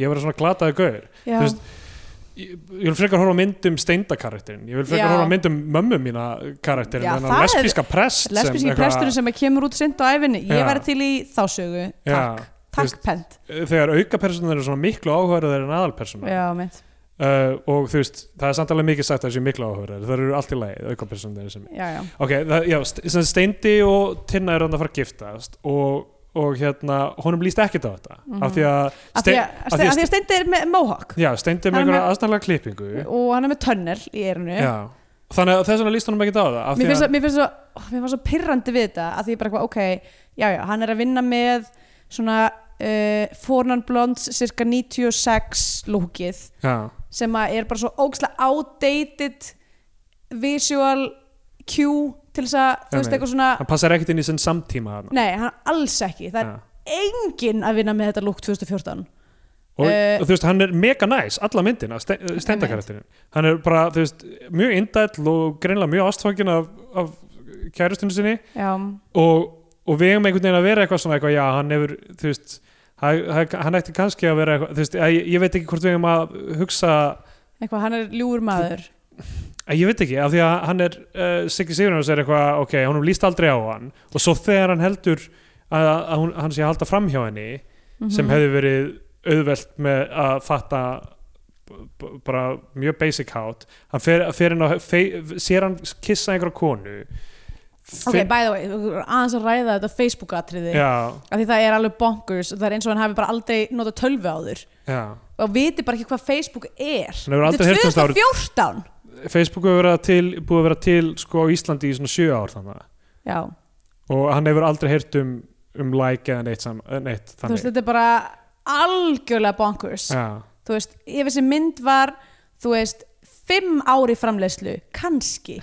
B: ég verið svona glataður gauður
C: já,
B: Þú veist, ég, ég vil frekar horfa á mynd um steindakarrekterin ég vil frekar
C: Já.
B: horfa á mynd um mömmu mína karakterin,
C: Já,
B: þannig
C: það
B: að
C: er-
B: lesbíska prest sem
C: lesbíski
B: eitthvað-
C: presturinn sem að kemur út sent á æfinni
B: Já.
C: ég væri til í þá sögu takk,
B: Já, þú
C: takk
B: veist-
C: pent
B: Eh, þegar aukapersonar eru svona miklu áhverðar en aðalpersonar
C: já, mitt,
B: uh, og þú veist, það er samt alveg mikið sagt að þessu miklu áhverðar, það eru allt í lagi aukapersonar sem
C: já, já,
B: ok, það, já, st- sem sagt Steindi og Tinna eru hann að fara að giftast og, og hérna, honum líst ekkert á þetta af því að,
C: Mhm. af því að,
B: af því að,
C: að Steindi er með mohawk
B: Ste- já, Steindi er með
C: Hann er
B: einhverja aðstæðanlega klippingu
C: og hann er með tönnel í erinu
B: já, þannig að þess vegna líst honum ekkert á það af
C: mér
B: því
C: finnst,
B: að,
C: svo, mér, finnst svo, ó, mér finnst svo pirrandi við þetta að því ég bara eitthvað, ok, já já, hann er að vinna með svona uh, Fornan Blondes cirka 96 lúkið
B: já,
C: sem að er bara svo ógslag outdated visual cue til þess að þú veist
B: Einmitt.
C: eitthvað svona
B: hann passar ekkert inn í sinn samtíma hann
C: nei, hann alls ekki, það er enginn að vinna með þetta lúk 2014
B: og,
C: Eh,
B: og þú veist, hann er mega næs alla myndina, stendakarakterin hann er bara, þú veist, mjög indæll og greinlega mjög ástfangin af, af kærustinu sinni
C: já,
B: og, og við eigum einhvern veginn að vera eitthvað svona eitthvað, já, hann hefur, þú veist hann, hann- hann ætti kannski að vera eitthvað þú veist, ég, ég veit ekki hvort við eigum að hugsa
C: eitthvað, hann er ljúur maður
B: að ég veit ekki, af því að hann er uh, Siggi Sigurjóns er eitthvað, ok, honum líst aldrei á hann og svo þegar hann heldur að, að hún, hann sé að halda fram hjá henni
C: Mhm.
B: sem hefði verið auðvelt með að fatta b- b- bara mjög basic hát hann fer, fer inn á fe, sér hann kissa einhverja konu
C: ok, by the way, þú- aðeins að ræða þetta Facebook-atriði
B: já,
C: af því það er alveg bonkers og það er eins og hann hafi bara aldrei notað tölvu á þur
B: já
C: og viti bara ekki hvað Facebook er
B: Hann hefur aldrei
C: Þetta er
B: heyrt um það árið.
C: 2014
B: Facebook hefur verið til, búið að vera til sko á Íslandi í svona sjö ár þannig
C: já,
B: og hann hefur aldrei heyrt um, um like eða neitt, sam, eh, neitt
C: þú veist,
B: þannig
C: þetta er bara algjörlega bonkers
B: ja.
C: þú veist, ef þessi mynd var þú veist, fimm ári framleiðslu kannski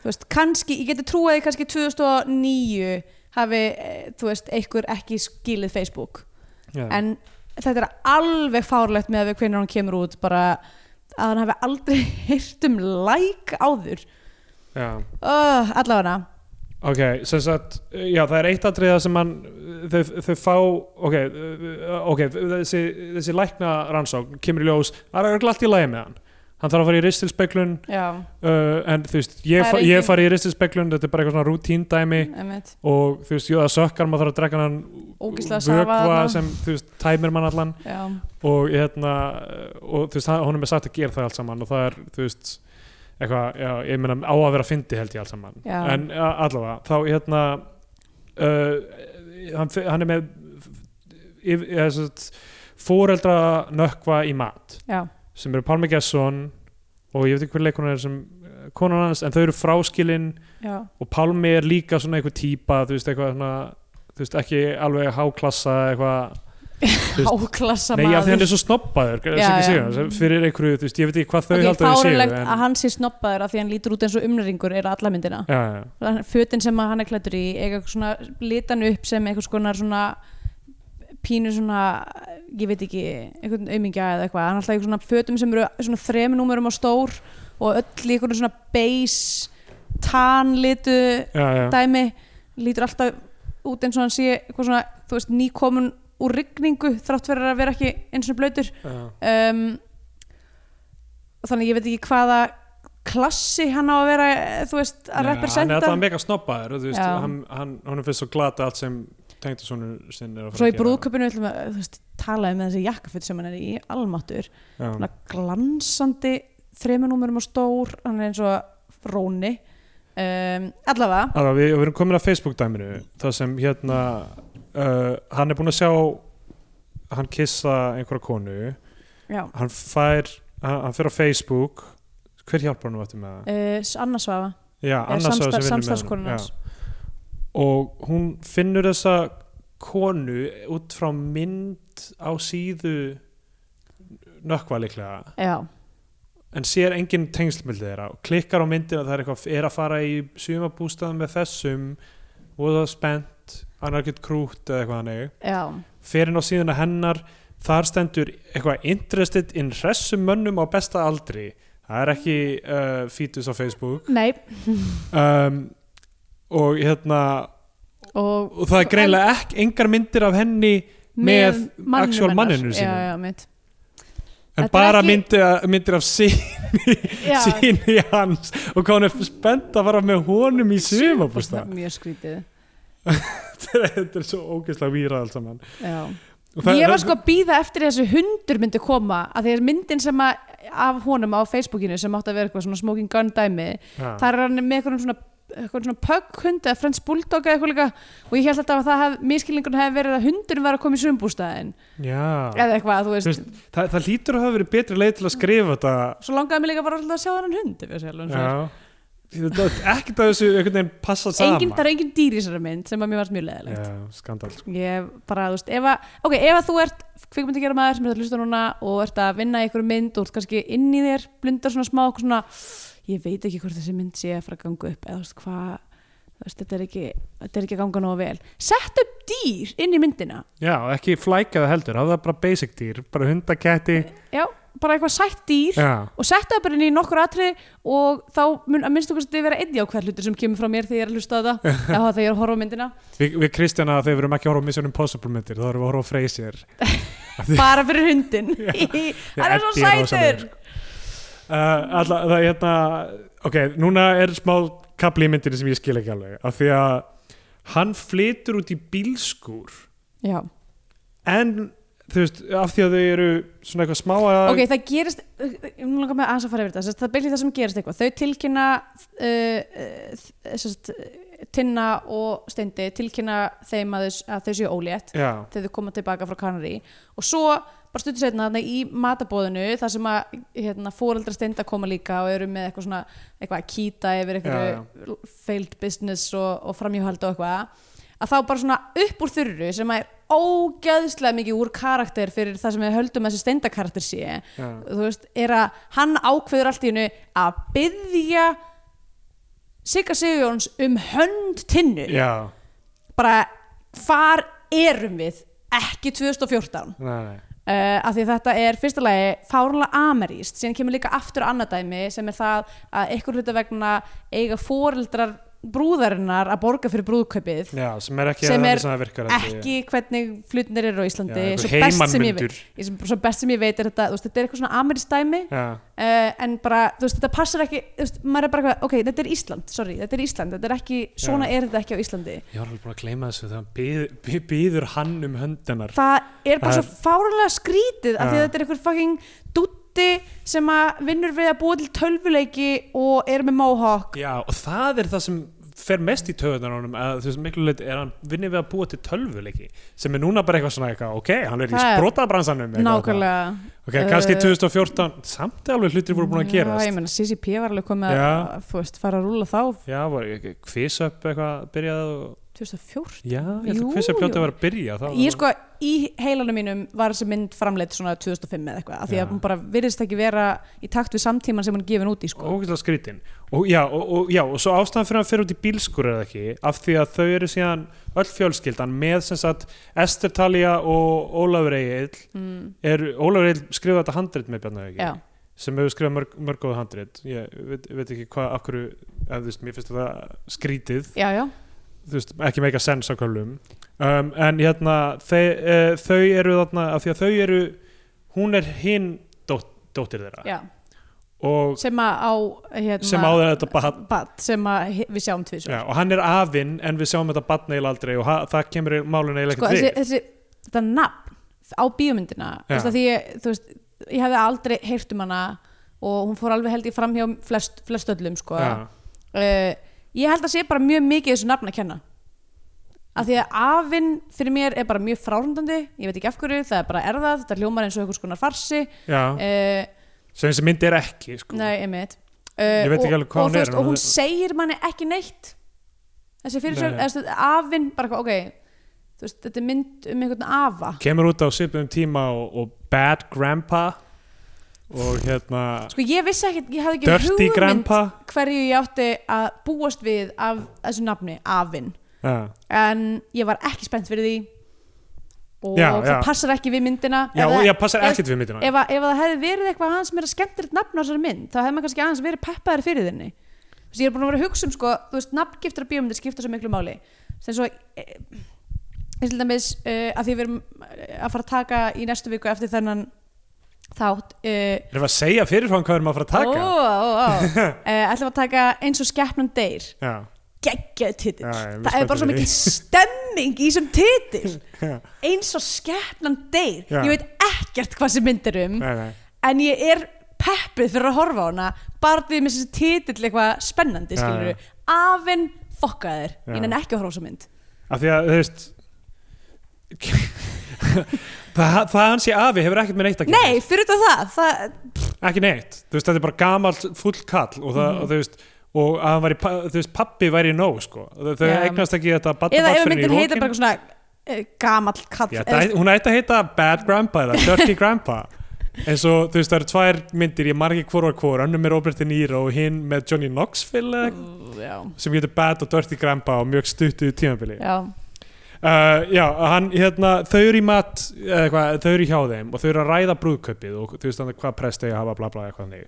C: þú veist, kannski, ég geti trúið að ég kannski 2009 hafi, eh, þú veist, einhver ekki skilið Facebook,
B: ja.
C: en þetta er alveg fárlegt með að við hvernig hann kemur út bara að hann hafi aldrei heyrt um like áður
B: ja.
C: oh, allavega
B: ok, sem sagt já, það er eitt atriða sem hann þau, þau fá ok, eh, ok, þessi, þessi lækna rannsókn kemur í ljós, það er glatt í lagi með hann hann þarf að fara í ristilspeglun
C: já,
B: uh, en þú veist, ég,
C: Það er
B: fa ég
C: engin-
B: fari í ristilspeglun þetta er bara eitthvað svona rútíndæmi
C: einmitt
B: og þú veist, jú, það sökkar maður þarf að drekka hann
C: Ógeðslega
B: vökva
C: safaðarna.
B: sem, þú veist, tæmir mann allan
C: já,
B: og hérna og þú veist, hann- honum er sagt að gera það allt saman og það er, þú veist eitthvað, já, ég meina á að vera fyndi held ég allt saman
C: Já.
B: en a- allavega, þá hérna uh, hann, fe- hann er með yf, eða, satt, fóreldra nökkva í mat
C: já,
B: sem eru Palmi Gesson og ég veit ekki hver leikunar er sem eh, konan hans, en þau eru fráskilin
C: já,
B: og Pálmi er líka svona einhver típa þú veist, eitthvað svona þú veist, ekki alveg háklassa eitthvað Þú veist-
C: háklassa
B: Nei, af því hann
C: maður
B: er svo snobbaður
C: Já,
B: Siggi
C: já.
B: Sigurjóns, fyrir einhverju, þú veist, ég veit ekki hvað þau
C: Ok,
B: halda þau séu
C: fáránlegt
B: en-
C: að hann sé snoppaður af því hann lítur út eins og umringur er alla myndina
B: Já, já,
C: fötin sem að hann er klættur í eiga eitthvað svona litan upp sem einhvers konar svona pínu svona, ég veit ekki einhvern aumingja eða eitthvað, hann er alltaf í svona fötum sem eru svona þrem númerum á stór og öll í einhvern svona beige tanlitu
B: já, já,
C: dæmi lítur alltaf út eins og hann sé eitthvað svona, þú veist, nýkomin úr rigningu þrátt fyrir að vera ekki eins og blöytur
B: já.
C: um, og þannig ég veit ekki hvaða klassi hann á að vera eh, þú veist, að
B: Já, Hann er
C: representa
B: alltaf mega snobbaður, þú veist
C: Já.
B: hann, hann, Hún finnst svo glata allt sem tengdu svona sinn er að
C: svo
B: fara
C: í
B: að gera.
C: brúðköpinu ætlum að, þú veist, talaði með þessi jakkafutt sem hann er í almatur,
B: Já.
C: svona glansandi þremunúmurum og stór hann er eins og róni um, allavega
B: Allá, við, við erum komin að Facebook dæminu það sem hérna uh, hann er búinn að sjá hann kissa einhverja konu
C: já,
B: hann fær, hann, hann fer á Facebook hver hjálpar hann eftir með það?
C: uh, Anna Svafa
B: Já,
C: eða
B: annars
C: samstar-
B: samstar,
C: samstarfskonan hans.
B: og hún finnur þessa konu út frá mynd á síðu nökkva líklega
C: já,
B: en sér engin tengslmildi þeirra og klikkar á myndina það er eitthvað er að fara í sumabústaðum með þessum og það spennt hann er ekkert krútt eða eitthvað hannig
C: já,
B: fer inn á síðuna hennar þar stendur eitthvað interested in hressum mönnum á besta aldri það er ekki uh, fítus á Facebook
C: Nei,
B: um, og hérna
C: og
B: og það er greinlega ekki engar myndir af henni með, actual
C: hennar.
B: manninu sínu
C: Já, já, mitt Þetta
B: en
C: er
B: bara
C: ekki-
B: myndir, myndir af síni
C: Já.
B: hans og hvað hún er spennt að fara með honum í sumabústa
C: Mjög skrítið
B: þetta er svo ógeðslega víra allt saman
C: Já
B: Og það-
C: ég var sko að býða eftir þessu hundur myndi koma að því er myndin sem að, af honum á Facebookinu sem átti að vera eitthvað svona smoking gun dæmi
B: Já.
C: þar er hann með eitthvað svona, eitthvað svona pug hund eða frends bulldog eða eitthvað líka og ég held alltaf að það hef, miskilningun hefði verið að hundurinn var að koma í sumbústaðin
B: Já.
C: eða eitthvað, þú
B: Þú
C: veist,
B: veist, það, það lítur að hafa verið betri leið til að skrifa þetta
C: svo langaði mig líka bara alltaf að sjá þennan hund ef ég sé alveg eins og er.
B: Já. Þetta- ekkert að þessu einhvern veginn passa saman
C: engin, það er engin dýr í þessari mynd sem að mér varst mjög leðilegt
B: Já, skandal sko.
C: ég bara, þú veist, ef að ok, ef að þú ert kvikmyndi gera maður sem er að hlusta núna og ert að vinna í einhverju mynd og ert kannski inn í þér, blundar svona smá okkur svona, ég veit ekki hvort þessi mynd sé að fara að ganga upp, eða þú veist hvað þú veist, þetta er ekki, þetta er ekki að ganga nógu vel sett upp dýr inn í myndina
B: Já, og ekki flækaða heldur, hafa það bara basic dýr bara hundaketti
C: já, bara eitthvað sætt dýr
B: Já,
C: og sett upp inn í nokkur atrið og þá mun að minnstu kannski vera einn jákvæð hlutur sem kemur frá mér þegar ég er að hlusta á þetta eða þegar ég er að horfa á myndina,
B: Vi, við Kristjana þegar við erum ekki að horfa á Mission Impossible myndir þá erum við að horfa á Freysier
C: bara fyrir hundin hann er svo
B: Eddi er rosalegur,
C: sætur
B: sko. uh, alla, það, hérna, Ok, núna er smá kapli í myndinni sem ég skil ekki alveg af því að hann flytur út í bílskúr
C: já
B: en þú veist, af því að þau eru svona eitthvað smá að
C: ok, það gerist nú langar mig aðeins að fara yfir þetta Sest, það byrja það sem gerist eitthvað, þau tilkynna uh, uh, sest, Tinna og Steindi tilkynna þeim að þau, að þau séu ólétt
B: Já,
C: þegar þau koma tilbaka frá Kanari og svo bara stuttur setna þarna í matabóðinu þar sem að hérna, fóreldra Steinda koma líka og eru með eitthvað svona eitthvað að kýta yfir
B: Já,
C: eitthvað failed business og, og framhjóhald og eitthvað að þá bara svona upp úr þurru sem að er ógeðslega mikið úr karakter fyrir það sem við höldum að þessi Steinda karakter sé
B: já.
C: þú veist, er að hann ákveður allt í hennu að byggja Sigga Sigjóns um hönd tinnu
B: Já,
C: bara hvar erum við ekki 2014 uh,
B: nei, nei.
C: af því að þetta er fyrsta lagi fárlega ameríst, síðan kemur líka aftur annað dæmi sem er það að einhver hluta vegna eiga foreldrar brúðarinnar að borga fyrir brúðkaupið
B: Já, sem er ekki
C: sem
B: þannig
C: er
B: sem það virkar held ég.
C: ekki hvernig flutinir eru á Íslandi
B: Já, einhver
C: svo, best sem ég
B: heimanmundur.
C: veit, ég sem- svo best sem ég veit er þetta, þú veist, þetta er eitthvað svona ameríst dæmi
B: Já,
C: uh, en bara, þú veist, þetta passar ekki þú veist, maður er bara eitthvað, ok, þetta er Ísland, sorry þetta er Ísland, þetta er ekki, svona
B: Já.
C: er þetta ekki á Íslandi
B: ég var alveg búin að gleyma þessu þegar hann býður- bý- býður hann um höndunar
C: það er bara
B: Það
C: svo fárlega skrítið af því að
B: Ja.
C: þetta er einhver fucking dútti sem að vinnur við að búa til tölvuleiki og er með mohawk
B: Já, og það er það sem fer mest í töðunar honum að þú veist miklu leiti er hann vinnir við að búa til tölvuleiki sem er núna bara eitthvað svona eitthvað ok, hann er í
C: Það er-
B: sprótabransanum eitthvað
C: nákvæmlega
B: þarna. ok, kannski
C: Uh,
B: 2014 samt er alveg hlutir voru búin að
C: Já, ég
B: gerast
C: meina CCP var alveg komið að,
B: Já.
C: að þú veist, fara að rúla þá
B: Já, var ekki kviss upp eitthvað byrjaði og
C: 2014
B: Já, ég held
C: Jú,
B: að kviss upp
C: jú.
B: hljóta að vera að byrja þá
C: Ég sko, í heilanum mínum var þessi mynd framleitt svona 2005 eða eitthvað, af því
B: Já.
C: að hún bara virðist ekki vera í takt við samtíman sem hún er gefin út í sko.
B: ógeðslega skrítin og já, og, og, já, og svo ástæðan fyrir að hann fer út í bílskur er það ekki, af því að þau eru síðan öll fjölskyldan með sem sagt Ester Talía og Ólafur Egil
C: mm,
B: er, Ólafur Egil skrifaði þetta handrit með Bjarnar
C: já,
B: Egil sem hefur skrifað mörg, mörg góð handrit ég veit, veit ekki hvað, af hverju eða, þú veist, mér finnst þetta skrítið
C: já, já,
B: þú veist, ekki meika sens á kölum um, en hérna þau, uh, þau eru þarna, af því að þau eru hún er hinn dótt, dóttir þeirra
C: já.
B: og
C: sem að á hérna,
B: sem áður þetta bara
C: bad sem að hi- við sjáum tvisvar
B: Já, og hann er afinn en við sjáum þetta batna eiginlega aldrei og ha- það kemur málun eiginlega
C: sko,
B: ekkert
C: þessi,
B: við.
C: þessi, þetta nafn á bíómyndina þú
B: Já.
C: veist, að því, ég- þú veist, ég hefði aldrei heyrt um hana og hún fór alveg held ég fram hjá flest, flest öllum sko. uh,
B: Já,
C: ég held að sé bara mjög mikið þessu nafn að kenna af því að afinn fyrir mér er bara mjög frárundandi ég veit ekki af hverju, það er bara erðað þetta hljómar eins og einhvers konar farsi
B: já,
C: uh,
B: sem þessi mynd er ekki sko.
C: nei, einmitt uh,
B: Ég veit ekki alveg hvað
C: og,
B: hún
C: og, þú
B: er,
C: veist,
B: en
C: og
B: hún
C: hún
B: er-
C: segir manni ekki neitt þessi
B: Nei.
C: fyrirsögn afinn bara eitthvað, ok þú veist, þetta er mynd um einhvern afa
B: Kemur út á svipum tíma og, og Bad Grandpa og hérna
C: Sko ég vissi ekkert, ég hafði ekki
B: Dirty
C: hugmynd
B: Grandpa
C: hverju ég átti að búast við af þessu nafni, Afinn
B: Já,
C: en ég var ekki spennt fyrir því og
B: Já,
C: það
B: já.
C: passar ekki við myndina
B: Já,
C: ef,
B: og
C: það-
B: ég passar
C: ef-
B: ekkert við myndina
C: ef, að- ef það hefði verið eitthvað aðeins meira skemmtilegt nafn á þessari mynd þá hefði maður kannski aðeins verið peppaðir fyrir þinni þú veist, ég er búin að vera að hugsa um sko, þú veist, nafngiftar og bíómyndir skipta svo miklu máli sem svo e, eins og dæmis uh, að því við erum að fara að taka í næstu viku eftir þennan þátt uh,
B: Erum við að segja fyrirfram hvað við erum að fara að taka?
C: ó, ó, ó. uh, ætlum við að taka eins og skepnum deyr
B: Já,
C: geggjaði titill
B: Já, ég er mjög
C: það er bara
B: spenntur
C: svo
B: fyrir
C: mikil stemming í þessum titill
B: Já.
C: eins og skepnan deyr
B: Já.
C: ég veit ekkert hvað sem mynd er um
B: nei, nei
C: en ég er peppuð fyrir að horfa á hana bara því með þessi titill eitthvað spennandi
B: Já,
C: skilur
B: já.
C: við afinn fokkaðir,
B: Já.
C: ég nenni ekki að horfa á þessa mynd
B: Af því að, þú veist það, það hans í afi hefur ekkert með neitt að gera
C: nei, fyrir utan það, það
B: Ekki neitt, þú veist, þetta er bara gamalt full kall og það,
C: Mhm.
B: og þú veist og að hann væri, pa- þú veist, pappi væri nóg sko. þau þau
C: Já.
B: eignast ekki þetta
C: eða ef
B: barnabarn fyrr en í
C: myndin heitir
B: lokin.
C: bara eitthvað svona eh, gamall kall
B: Já,
C: eða
B: það, hún ætti að heita Bad Grandpa eða Dirty Grandpa eins og þú veist það eru tvær myndir ég margir hvor og hvor, önnum er Robert De Niro og hinn með Johnny Knoxville eða, eitthvað,
C: svona- já,
B: sem getur Bad og Dirty Grandpa á mjög stuttu tímabili uh,
C: já,
B: Eh, já, hann, hérna, þau eru í mat eða eitthvað, þau eru hjá þeim og þau eru að ræða brúðkaupið og þú veist þannig hvað prest eigi að hafa bla bla eitthvað þannig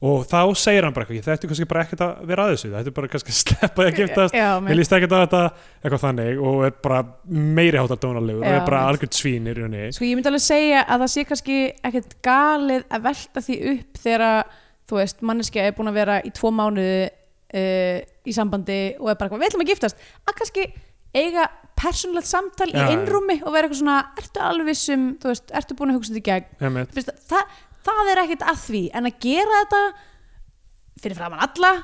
B: og þá segir hann bara eitthvað, þetta er kannski bara ekkert að vera að þessu þetta er bara kannski að sleppa því að giftast
C: já,
B: vil
C: mér
B: ég stekja þetta eitthvað þannig og er bara meiri hátar dónalegur og
C: Já,
B: er bara
C: mitt.
B: algjörn svín í rauninni
C: Sko ég myndi alveg segja að það sé kannski ekkert galið að velta því upp þegar að, þú veist, manneskja er búin að vera í tvo mánuði uh, í sambandi og er bara eitthvað, við ætlum að giftast að kannski eiga persónulegt samtal
B: Já,
C: í
B: já.
C: innrúmi og vera eitthvað svona ertu alveg vissum, þú veist, ertu búin að hugsa þetta í gegn
B: Einmitt.
C: Þú veist, það, það er ekkert að því en að gera þetta fyrir framann alla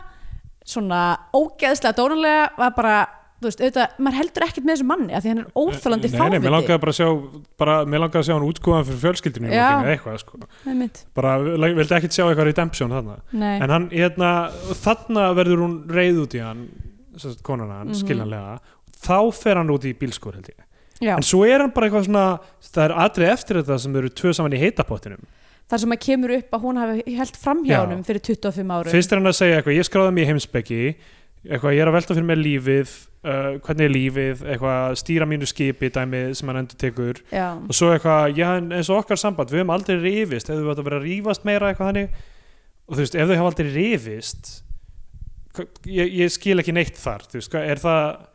C: svona ógeðslega dónulega var bara, þú veist, auðvitað, maður heldur ekkert með þessum manni að því hann er óþálandi
B: Nei, nei, mér
C: fáviti
B: langaði bara að sjá bara, mér langaði að sjá hann útkoðan fyrir fjölskyldinu í
C: Já.
B: lokinu eða eitthvað sko.
C: Einmitt.
B: bara, la- vildi ekkert sjá eitthvað redemption þarna
C: Nei.
B: en hann, hérna, þarna verður hún reið út í hann sem sagt, konan hann,
C: Mhm.
B: skiljanlega þá fer hann út í bílskúr held ég
C: Já.
B: en svo er hann bara eitthvað svona það er atrið eftir þetta sem þau eru tvö saman í heitapottinum
C: þar sem að kemur upp að hún hafi held framhjá
B: Já.
C: honum fyrir 25 árum
B: fyrst er hann að segja eitthvað, ég skráði mig í heimsbyggi eitthvað, ég er að velta fyrir mér lífið uh, hvernig er lífið, eitthvað stýra mínu skipi, dæmið sem hann endur tekur
C: já,
B: og svo eitthvað, já en eins og okkar samband við höfum aldrei rifist, hefur við átt að vera að rífast meira eitthvað þannig, og þú veist, ef þau hafa aldrei rifist hva- ég, ég skil ekki neitt þar þú veist, hvað- er það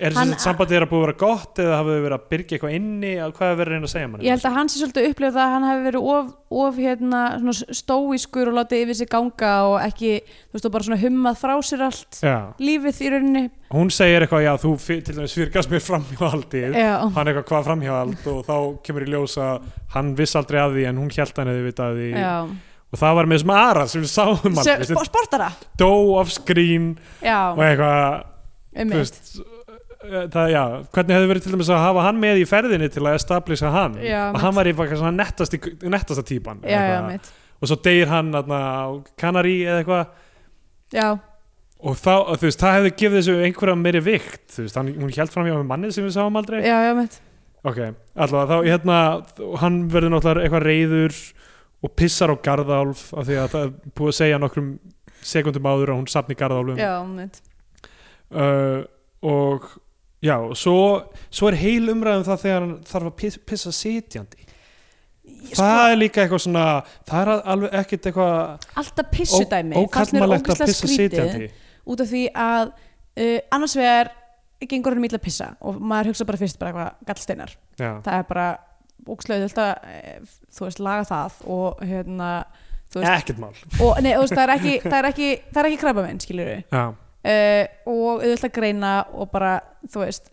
B: er
C: Hann-
B: þess að sambandið er að búið að vera gott eða hafa þau verið að byrgja eitthvað inni eða hvað er verið að reyna að segja manni
C: ég held að hann sé svolítið upplifað það að hann hafi verið of, of hérna, svona stóískur og látið yfir sig ganga og ekki, þú veist, og bara svona hummað frá sér allt
B: já,
C: lífið í rauninni
B: hún segir eitthvað, já þú fyr- til dæmis fyrkast mér framhjóaldið
C: já,
B: hann eitthvað hvað framhjóald og þá kemur í ljós að hann viss aldrei að því en hún hjælt hann eða vitað því
C: já.
B: og það var með þessum aðra sem við sáum
C: Sem,
B: aldrei,
C: sp sportara
B: sem dó af skrín og
C: já,
B: eitthvað þú
C: einmitt
B: veist, eh, það, já, hvernig hefði verið til dæmis að hafa hann með í ferðinni til að establisha hann að
C: Já, mitt.
B: hann var í bara svona nettasta, nettasta típan
C: já, já,
B: eitthvað.
C: mitt
B: og svo deyr hann atna, á Kanarí eða eitthvað
C: já,
B: og þá, og þú veist, það hefði gefið þessu einhverja meiri vikt, þú veist, hann, hún held fram hjá með mannið sem við sáum aldrei
C: já, já, mitt
B: ok, allavega þá, hérna, hann verður náttúrulega eitthvað reyður og pissar á Garðálf af því að það er búið að segja nokkrum sekundum áður að hún safni Garðálfum
C: já, mitt
B: uh, og já, og svo, svo er heil umræðum það þegar hann þarf að pissa, pissa sitjandi
C: sko-
B: það er líka eitthvað svona það er alveg ekkert eitthvað
C: alltaf pissudæmi
B: ó-
C: fannst mér
B: ókallmannlegt að
C: ógeðslega
B: pissa
C: skrítið.
B: sitjandi
C: út af því að uh, annars vegar gengur hann mýla að pissa og maður hugsa bara fyrst bara eitthvað gallsteinar
B: já,
C: það er bara ókslega auðvitað að eh, þú veist laga það og hérna þú veist,
B: ekkert mál
C: og, nei, þú veist það er ekki það er ekki, það er ekki krabba minn skilur við
B: já,
C: og auðvitað greina og bara þú veist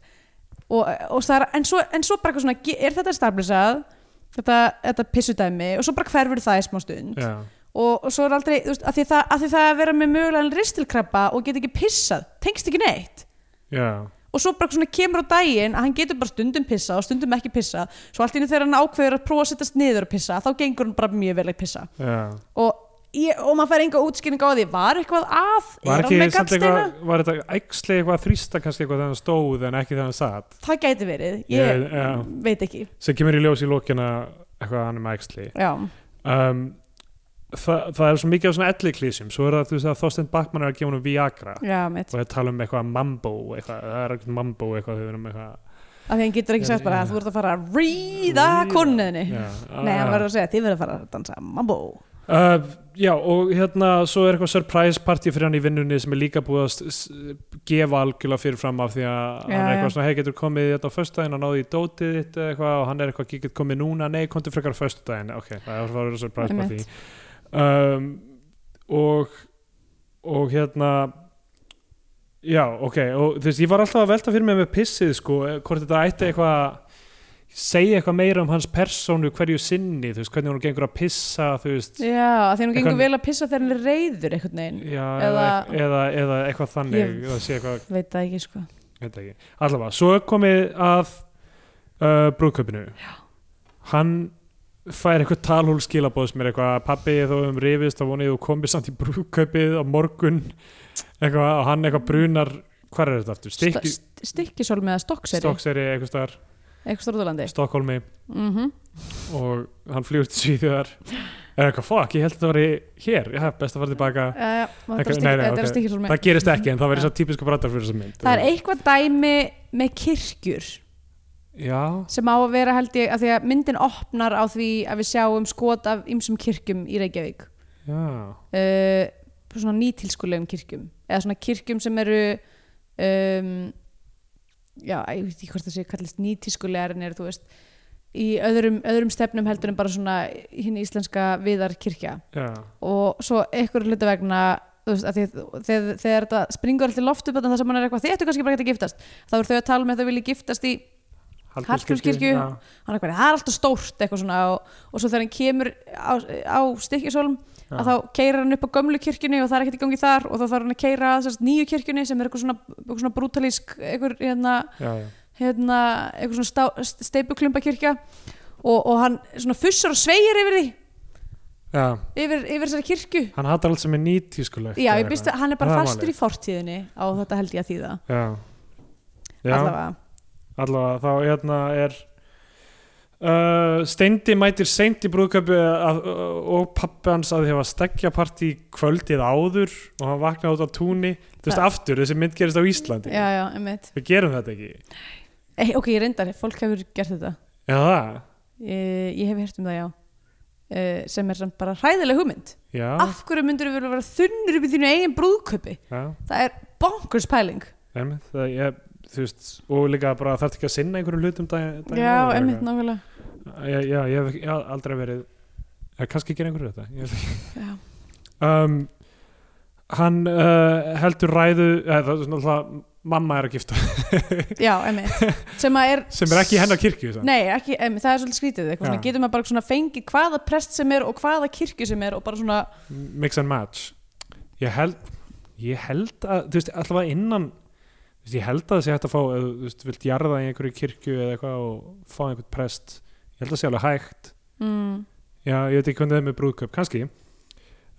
C: og, og það er, en svo, en svo bara eitthvað svona ge- er þetta stablisað þetta, þetta pissudæmi og svo bara hverfur það í smá stund
B: já,
C: og, og svo er aldrei, þú veist, að því það, að því það að vera með mögulegan ristilkrabba og get ekki pissað tengst ekki neitt
B: já
C: og svo bara svona kemur á daginn að hann getur bara stundum pissað og stundum ekki pissað svo allt í einu þegar hann ákveður að prófa að sittast niður og pissa þá gengur hann bara mjög vel að pissa
B: já
C: og, ég, og maður fær enga útskýring á því var eitthvað að,
B: Var,
C: er hann
B: ekki,
C: með
B: samt
C: gallsteina
B: eitthvað, var þetta æxli eitthvað að þrýsta kannski eitthvað þegar hann stóð en ekki þegar hann satt
C: það gæti verið, ég
B: Ég- já.
C: veit ekki
B: sem kemur í ljós í lókina eitthvað að hann er með æxli
C: já,
B: um, það, það er svo mikið af svona elliklísjum svo er það þú veist að Þorstein Bakman er að gefa hann Viagra
C: já, mitt
B: og það tala um eitthvað mambo eitthvað, það er eitthvað mambo eitthvað, þau verðum eitthvað
C: af því hann getur ekki
B: Já,
C: sagt bara
B: já.
C: að þú ert að fara að ríða konniðinni nei,
B: Ah.
C: hann verður að segja þið verður að fara að dansa mambo
B: Uh, já, og hérna svo er eitthvað surprise party fyrir hann í vinnunni sem er líka búið að s- s- gefa algjörlega fyrirfram af því að
C: Já,
B: hann er eitthvað
C: já.
B: svona, hei, getur komið þetta á föstudaginn og náði í dótið þitt eða eitthvað og hann er eitthvað, getur komið núna, nei, komdu frekar á föstudaginn, ok, það var að vera surprise party
C: Einmitt.
B: um, og og hérna já, ok, og þú veist, ég var alltaf að velta fyrir mig með pissið, sko, hvort þetta ætti eitthvað segja eitthvað meira um hans persónu hverju sinni, þú veist, hvernig hún gengur að pissa, þú veist,
C: já, af því hann gengur
B: Eitthvað-
C: vel að pissa þegar hann er reyður einhvern veginn,
B: Já, eða,
C: Eða-
B: eða, eða eitthvað þannig
C: Ég-
B: eða sé eitthvað,
C: veit það ekki sko
B: veit ekki allavega, svo er komið að uh, brúðkaupinu hann fær eitthvað talhúl skilabóð sem er eitthvað pappi þó um rifist og vonið og komið samt í brúðkaupið á morgun eitthvað, og hann eitthvað brunar hvar er þetta aftur? Stikki,
C: stikkisólmi eða stokkseri
B: Stokkseri, eitthvað staðar,
C: eitthvað stórðulandi
B: Stokkólmi
C: mm
B: og hann flýur til Svíþjóðar er eitthvað, fuck, ég held að þetta var hér já, best að fara tilbaka Ekki- nei, nei,
C: Eh, þetta
B: ok.
C: er stikkisólmi
B: það gerist ekki, en það
C: Já.
B: verður svo típisku brattar fyrir þessa mynd
C: það er eitthvað dæmi með kirkjur
B: já,
C: sem á að vera held ég af því að myndin opnar á því að við sjáum skot af ymsum kirkjum í Reykjavík
B: já
C: uh, svona nýtilskulegum kirkjum eða svona kirkjum sem eru um, já, ég veit ekki hvort það sé kallist nýtilskulegar en eru þú veist í öðrum, öðrum stefnum heldur en bara svona hinn íslenska viðar kirkja
B: Já,
C: og svo einhverju hluta vegna þú veist, að því, þegar, þegar þetta springur alltaf loft upp þannig það sem hann er eitthvað, þið ættu kannski bara ekki að giftast þá eru þau að tala með þau vilji giftast í Hallgrímskirkju
B: já.
C: hann er eitthvað, það er alltaf stórt eitthvað svona og, og svo þegar hann kemur á, á stikkisólum
B: Já.
C: að þá keirar hann upp á gömlu kirkjunni og það er ekkert í gangi þar og þá þarf hann að keira að sérst, nýju kirkjunni sem er eitthvað svona, eitthvað svona brútalísk eitthvað, hérna,
B: Já, já.
C: hérna, eitthvað svona stá, steipuklumba kirkja og, og hann svona fussar og sveigir yfir því
B: já,
C: yfir, yfir þessari kirkju
B: hann hattar allt sem er nýtískulegt
C: já, ég býst að hann er bara
B: Það er
C: fastur
B: málið.
C: í fortíðinni á þetta held ég að þýða
B: Já, já allavega.
C: allavega,
B: þá hérna er Uh, steindi mætir seint í brúðköpu og pappi hans að þefa stekkjapartí kvöldið áður og hann vaknaði út á túni þú veist
C: Það-
B: aftur, þessi mynd gerist á Íslandi
C: já, já, einmitt
B: við gerum þetta ekki já
C: Ei, ok, ég reyndar, fólk hefur gert þetta
B: það,
C: ég, ég hef hert um það, já Uh, sem er samt bara hræðileg hugmynd
B: já,
C: af hverju myndur við vera þunnur upp í þínu eigin brúðköpi
B: já.
C: það er bonkers pæling
B: Einmitt, það, ég, þú veist og líka bara þarf ekki að sinna einhverjum hlutum dag, dag
C: já, einmitt nákvæmlega
B: já, já, ég hef ekki- já, aldrei verið ég, kannski gerir einhverju þetta ég, veit
C: Já.
B: ekki. um, hann uh, heldur ræðu eða, það, er svona, alltaf, mamma er að gifta
C: já, einmitt sem að er,
B: sem er ekki í hennar kirkju samt.
C: nei, ekki, einmitt, það er svolítið skrítið eitthvað, svona,
B: Já.
C: getur maður bara svona fengið hvaða prest sem er og hvaða kirkju sem er og bara svona
B: mix and match ég held, ég held að þú veist, alltaf að innan þú veist, ég held að það sé hægt að fá ef þú veist, vilt jarða í einhverju kirkju eða eitthvað og fá einhvern prest ég held að það sé alveg hægt
C: mm,
B: já, ég veit ekki hvernig það er með brúðköp, kannski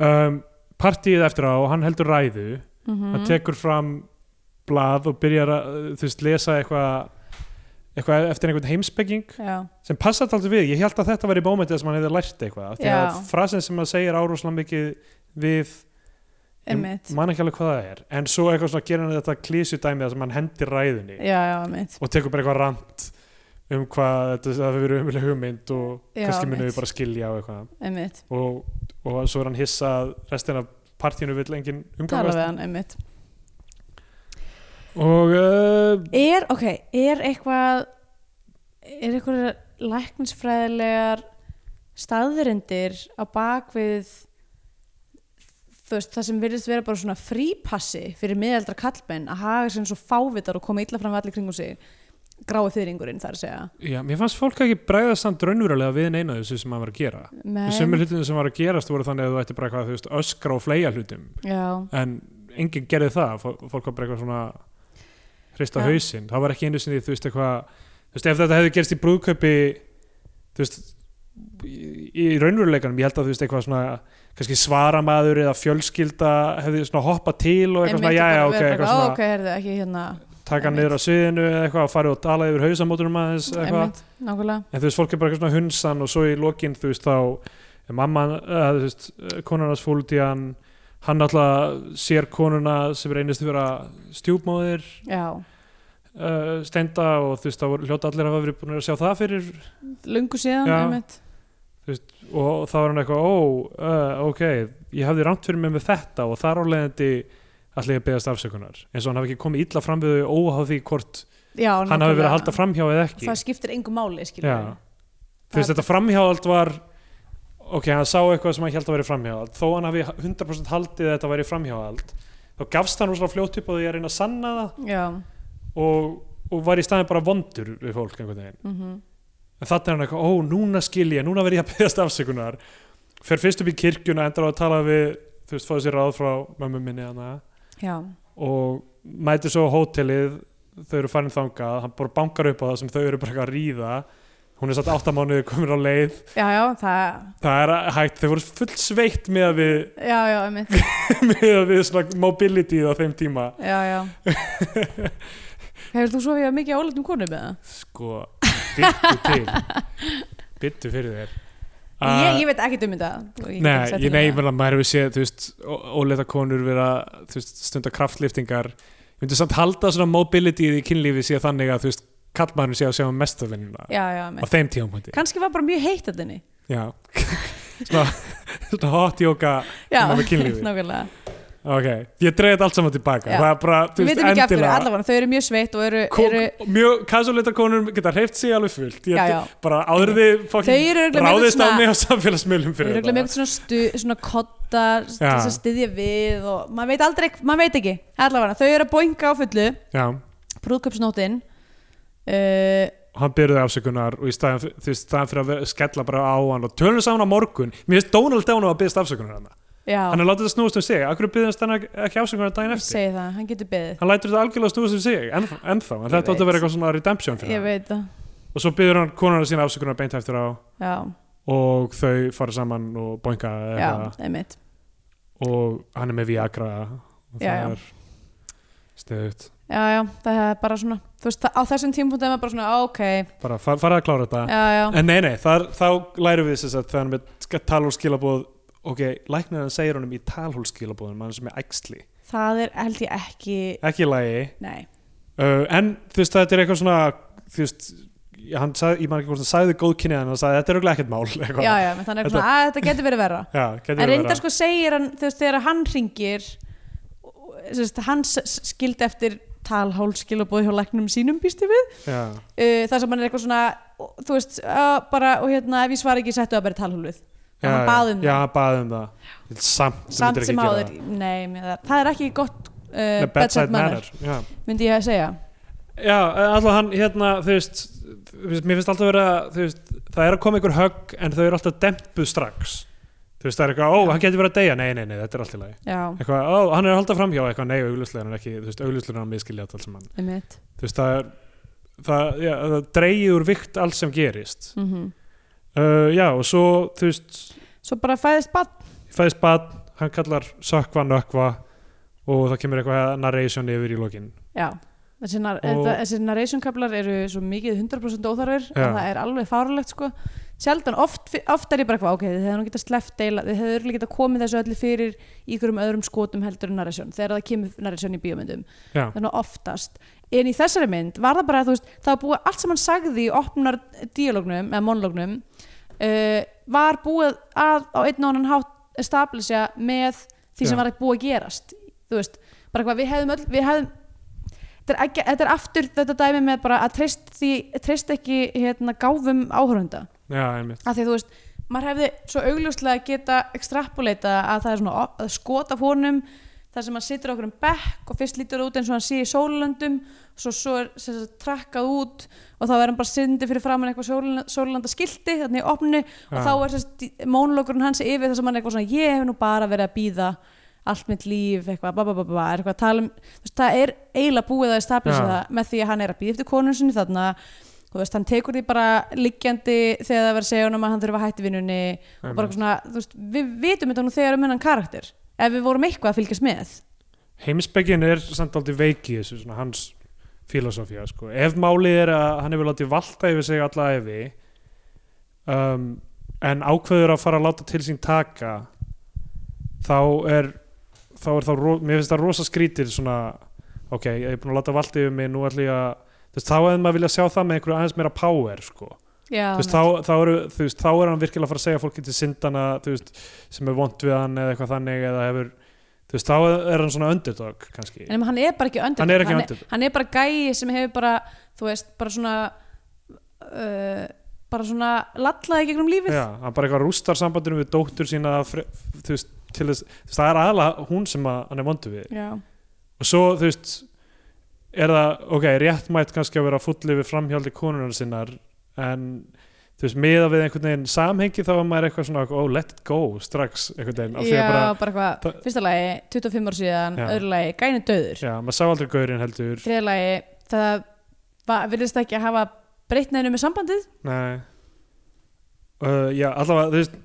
B: um, partíið eftir á og hann heldur ræðu
C: mm
B: hann tekur fram blað og byrjar að uh, þú veist, lesa eitthvað eitthvað eftir einhvern heimsbygging
C: já,
B: sem passaði alltaf við, ég held að þetta væri bómyndið sem hann hefði lært eitthvað, af því að
C: Já.
B: frasin sem hann segir árúslega mikið við
C: einmitt
B: ég man ekki alveg hvað það er, en svo eitthvað svona gerir hann þetta klísudæmið þar sem hann hendir ræðunni
C: já, já, einmitt
B: og tekur bara eitthvað rant um hvað þetta það hefur verið umlega hugmynd og
C: Já,
B: kannski munum
C: mitt.
B: við bara skilja og eitthvað
C: einmitt,
B: og, og svo er hann hissa að restin af partíinu vill engin
C: tala við
B: umgangast
C: hann, einmitt
B: og uh,
C: er, ok, er eitthvað er eitthvað læknisfræðilegar staðurindir á bakvið þú veist, það sem virðist vera bara svona frípassi fyrir miðaldra kallmenn að haga sem svo fávitar og koma illa fram við allir kringum sig grái þýringurinn þar að segja
B: Já, mér fannst fólk ekki bregðast samt raunverulega við neina þessu sem hann var að gera.
C: Men,
B: En sumir hlutinu sem var að gerast voru þannig að þú ætti bara eitthvað, þú veist, öskra og fleia hlutum.
C: já,
B: En enginn gerði það, Fó- fólk var bara eitthvað svona hrista
C: Já.
B: hausinn. Það var ekki einu sinni, þú veist, eitthvað, þú veist, ef þetta hefði gerst í brúðkaupi, þú veist, í í raunveruleikanum, ég held að þú veist eitthvað svona kannski svaramaður eða fjölskylda hefði svona hoppa til og eitthvað svona, já, já, ok, eitthvað
C: svona
B: svona
C: ok, er það ekki hérna
B: taka
C: einmitt.
B: niður á sviðinu eða eitthvað og farið og dala yfir hausamóturum aðeins eitthvað
C: einmitt, nákvæmlega
B: en þú veist, fólk er bara eitthvað svona hunsan og svo í lokin, þú veist, þá er mamma, eða, þú veist, konarnas fóludían hann alltaf sér konuna sem reynist að vera stjúpmóðir
C: já,
B: uh, steinda og þú veist það voru hljóta allir að hafa verið búin að sjá það fyrir
C: lungu síðan
B: Já.
C: einmitt.
B: og þá var hann eitthvað, ó, uh, ok ég hafði rámt fyrir mig með þetta og þar álegandi allir að beðast afsökunar eins og hann hafi ekki komið illa fram við þau óháð því hvort
C: Já,
B: hann hafi verið að
C: nákvæmlega.
B: halda framhjá eða ekki
C: það skiptir engu máli skilur
B: Já.
C: við.
B: þú veist þetta framhjáald var ok, hann sá eitthvað sem hann held að veri framhjáald þó hann hafi 100% haldið að þetta væri framhjáald þá gafst hann rosalega fljótt upp á því að reyna að sanna það
C: Já.
B: og, og var í staðin bara vondur við fólk einhvern veginn
C: Mm
B: en þannig er hann eitthvað, ó, núna skil ég núna verð ég að beðast afsökunar fer fyrst upp í kirkjuna, endar á að tala við þú veist, fóðu sér ráð frá mömmu minni hana,
C: Já.
B: og mætir svo á hótelið þau eru farin þangað, hann bara bankar upp á það sem þau eru bara eitthvað að ríða hún er satt áttamánuði komin á leið
C: já, já, það
B: það er hægt, þau voru full sveitt með að við,
C: já, já, einmitt
B: með að við svona mobility á þeim tíma
C: já, já. Hefur þú sofið mikið á óléttum konum eða?
B: sko, byttu til byttu fyrir þér
C: ég, ég veit ekkert um þetta og get ekki
B: Uh, Nei,
C: sagt
B: ég
C: þér
B: nei,
C: það.
B: menn að maður hefur séð, þú veist, óleita konur vera, þú veist, stunda kraftliftingar ég myndi samt halda svona mobility í kynlífi sé þannig að, þú veist, kallmannur sé að sjá um mestu vinnuna
C: Já, já,
B: á
C: einmitt
B: þeim tímapunkti
C: Kannski var bara mjög heitt að þenni
B: Já, svona, svona hot yoga
C: Já,
B: Nema með kynlífið.
C: nákvæmlega
B: ok, ég dreig þetta allt saman tilbaka
C: Já.
B: það er bara, þú
C: Við
B: veist,
C: veitum ekki af hverju,
B: endilega
C: allavega, þau eru mjög sveitt og eru,
B: Kó-
C: eru
B: mjög kasuleita konur geta hreift sig alveg fullt ég,
C: Já, já.
B: bara áður því
C: Þau eru örugglega með
B: ráðist á
C: svona-
B: mig á samfélagsmiðlum
C: Þau eru
B: fyrir
C: örugglega með eitthvað svona, stu, svona kotta til
B: Já.
C: þess að styðja við og maður veit aldrei, maður veit ekki allavega, þau eru að boinga á fullu
B: já,
C: brúðköpsnótin uh,
B: og hann byrði afsökunar og í staðan, fyr- þú veist, staðan fyrir að ver- skella bara á hann og tölum saman á morgun mér finnst Donald Down á að byrðast afsökunar hann
C: Já,
B: hann er látið að snúast um sig, akkur byrðast hann ekki afsökunar daginn
C: ég
B: eftir
C: segi það, hann getur beðið
B: hann lætur þetta algjörlega snúast um sig enn, ennþá, en
C: Ég
B: þetta átti að
C: veit.
B: vera eitthvað svona redemption fyrir
C: Ég
B: hann,
C: veit það,
B: og svo byrður hann konuna sína afsökunar beint eftir á
C: já,
B: og þau fara saman og boinga eða
C: já,
B: eitthvað.
C: einmitt
B: og hann er með Viagra og
C: Já, já.
B: það er stöðut
C: Já, já, það er bara svona þú veist, á þessum tímapunkti er maður bara svona, ok
B: bara far, farað að klára þetta
C: Já, já,
B: en nei, nei, þar, þá lærum við þess að þegar hann er með talhólskilabóð ok, læknirinn segir honum í talhólskilabóðum mann sem er æxli,
C: það er held ég ekki
B: ekki í lagi
C: Nei,
B: uh, en þú veist, þetta er eitthvað svona þú veist, hann sagði, ég maður ekki hvort hann sagði góð kynnið en hann sagði, þetta er auðvitað ekkert mál eitthvað.
C: já, já, menn þannig er
B: Þetta-
C: svona, að þetta getur verið verra
B: já, gæti
C: En
B: verið
C: reyndar
B: vera.
C: sko segir hann, þú veist, þegar hann ringir sérst, hann s- s- skildi eftir talhálskil og búið hjá læknum sínum býstu við
B: já,
C: uh, þar sem hann er eitthvað svona ó, þú veist, uh, bara, og hérna ef ég svara ekki, settu að bara talhálfið
B: já,
C: hann bað um
B: já,
C: það.
B: hann baði um það Ég- samt, þú
C: samt
B: myndir
C: sem
B: ekki gera
C: áður,
B: það.
C: nei, mér það, það er ekki gott uh,
B: Nei, bedside manner, já
C: myndi ég að segja
B: Já, alltaf hann hérna, þú veist, þú veist, mér finnst alltaf vera, þú veist, það er að koma einhver högg en þau eru alltaf dempuð strax. Þú veist, það er eitthvað, ó, hann getur verið að deyja, nei, nei, nei, þetta er allt í lagi.
C: já,
B: Eitthvað, ó, hann er að halda framhjá, eitthvað, nei, augljóslega, hann er ekki, þú veist, augljóslega er hann miskiljað allt sem hann.
C: einmitt
B: Þú veist, það er, það, já, það dreigið úr vikt allt sem gerist.
C: mm
B: Uh, já, og svo, þú veist,
C: svo bara fæðist bann
B: fæðist bad, hann kallar sökva, nökva og það kemur eitthvað narration yfir í lokin.
C: já Þessi nar-
B: Og-
C: þetta- þessi narrationkablar eru svo mikið 100% óþarfir
B: Já.
C: að það er alveg fáralegt sko sjaldan, oft, oft er ég bara hvað ok, þið hefðu nú getað sleppt deila, þið hefðu örugglega getað komið þessu öllu fyrir í ykkurum öðrum skotum heldur en narration, þegar það kemur narration í bíómyndum
B: Já,
C: þannig að oftast en í þessari mynd var það bara þú veist, það var búið allt sem hann sagði í opnar dialognum eða monolognum uh, var búið að á einn og annan hátt establisha með því
B: Já.
C: sem var búið að gerast þú veist, bara hvað við hefðum öll við hefðum Þetta er, ekki, þetta er aftur þetta dæmi með bara að treyst, því, treyst ekki hérna, gáfum áhörunda
B: já, einmitt.
C: af því að þú veist, maður hefði svo augljóslega geta extrapoleita að það er svona op- að skot af honum þar sem hann situr á okkur um bekk og fyrst lítur það út eins og hann sé í sólöndum svo, svo er sem sagt, trakkað út og þá er hann bara syndi fyrir framann eitthvað sólönda skilti þannig í opnu og
B: Já.
C: þá er sérst, mónulogurinn hans yfir þar sem hann er eitthvað svona ég hef nú bara verið að býða allt mitt líf, eitthvað, ba, ba, ba, ba, ba, er eitthvað að tala um þú veist, það er eiginlega búið að establisa
B: Já.
C: það með því að hann er að býða eftir konun sinni þarna þú veist, hann tekur því bara liggjandi þegar það var að segja honum að hann þurfa að hætti vinnunni og bara
B: Einmitt.
C: eitthvað svona, þú veist, við vitum þetta nú þegar um hennan karakter, ef við vorum eitthvað að fylgjast með
B: heimspekin er samt aldrei veiki í þessu, svona hans filosófía, sko. Ef málið er að hann hefur látið valta yfir sig alla efi um, en ákveður að fara að láta til sín taka þá er þá er þá, ro- mér finnst það rosa skrítir svona, ok, ég er búin að láta valta yfir mig, nú ætlum ég að þú veist, þá hefði maður vilja sjá það með einhverju aðeins meira power sko.
C: já,
B: þú veist, þá, þá, eru, þú veist, þá er hann virkilega að fara að segja fólki til syndana þú veist, sem er vond við hann eða eitthvað þannig eða hefur, þú veist, þá er hann svona underdog kannski
C: en hann er bara ekki öndur
B: Hann er ekki underdog.
C: hann er bara gæi sem hefur bara þú veist, bara svona uh, bara svona lallaði gegnum lífið
B: Já, hann bara eitthvað rústar sambandinu við dóttur sína fre, þú veist, til þess, þú veist, það er aðalega hún sem að, hann er vondur við
C: já,
B: og svo, þú veist, er það ok, réttmætt kannski að vera fulli við framhjáldi konunar sinnar en þú veist, miða við einhvern veginn samhengi þá var maður eitthvað svona, oh, let it go strax, einhvern veginn, af því
C: já
B: að bara
C: bara, eitthvað
B: það-
C: fyrsta lagi, 25 ár síðan,
B: Já.
C: öðru lagi gæin er döður,
B: já, maður sá aldrei gaurinn heldur
C: þriða lagi það var, virðist ekki að hafa breytt neðinu með sambandið
B: Nei uh, Já, allavega, þú veist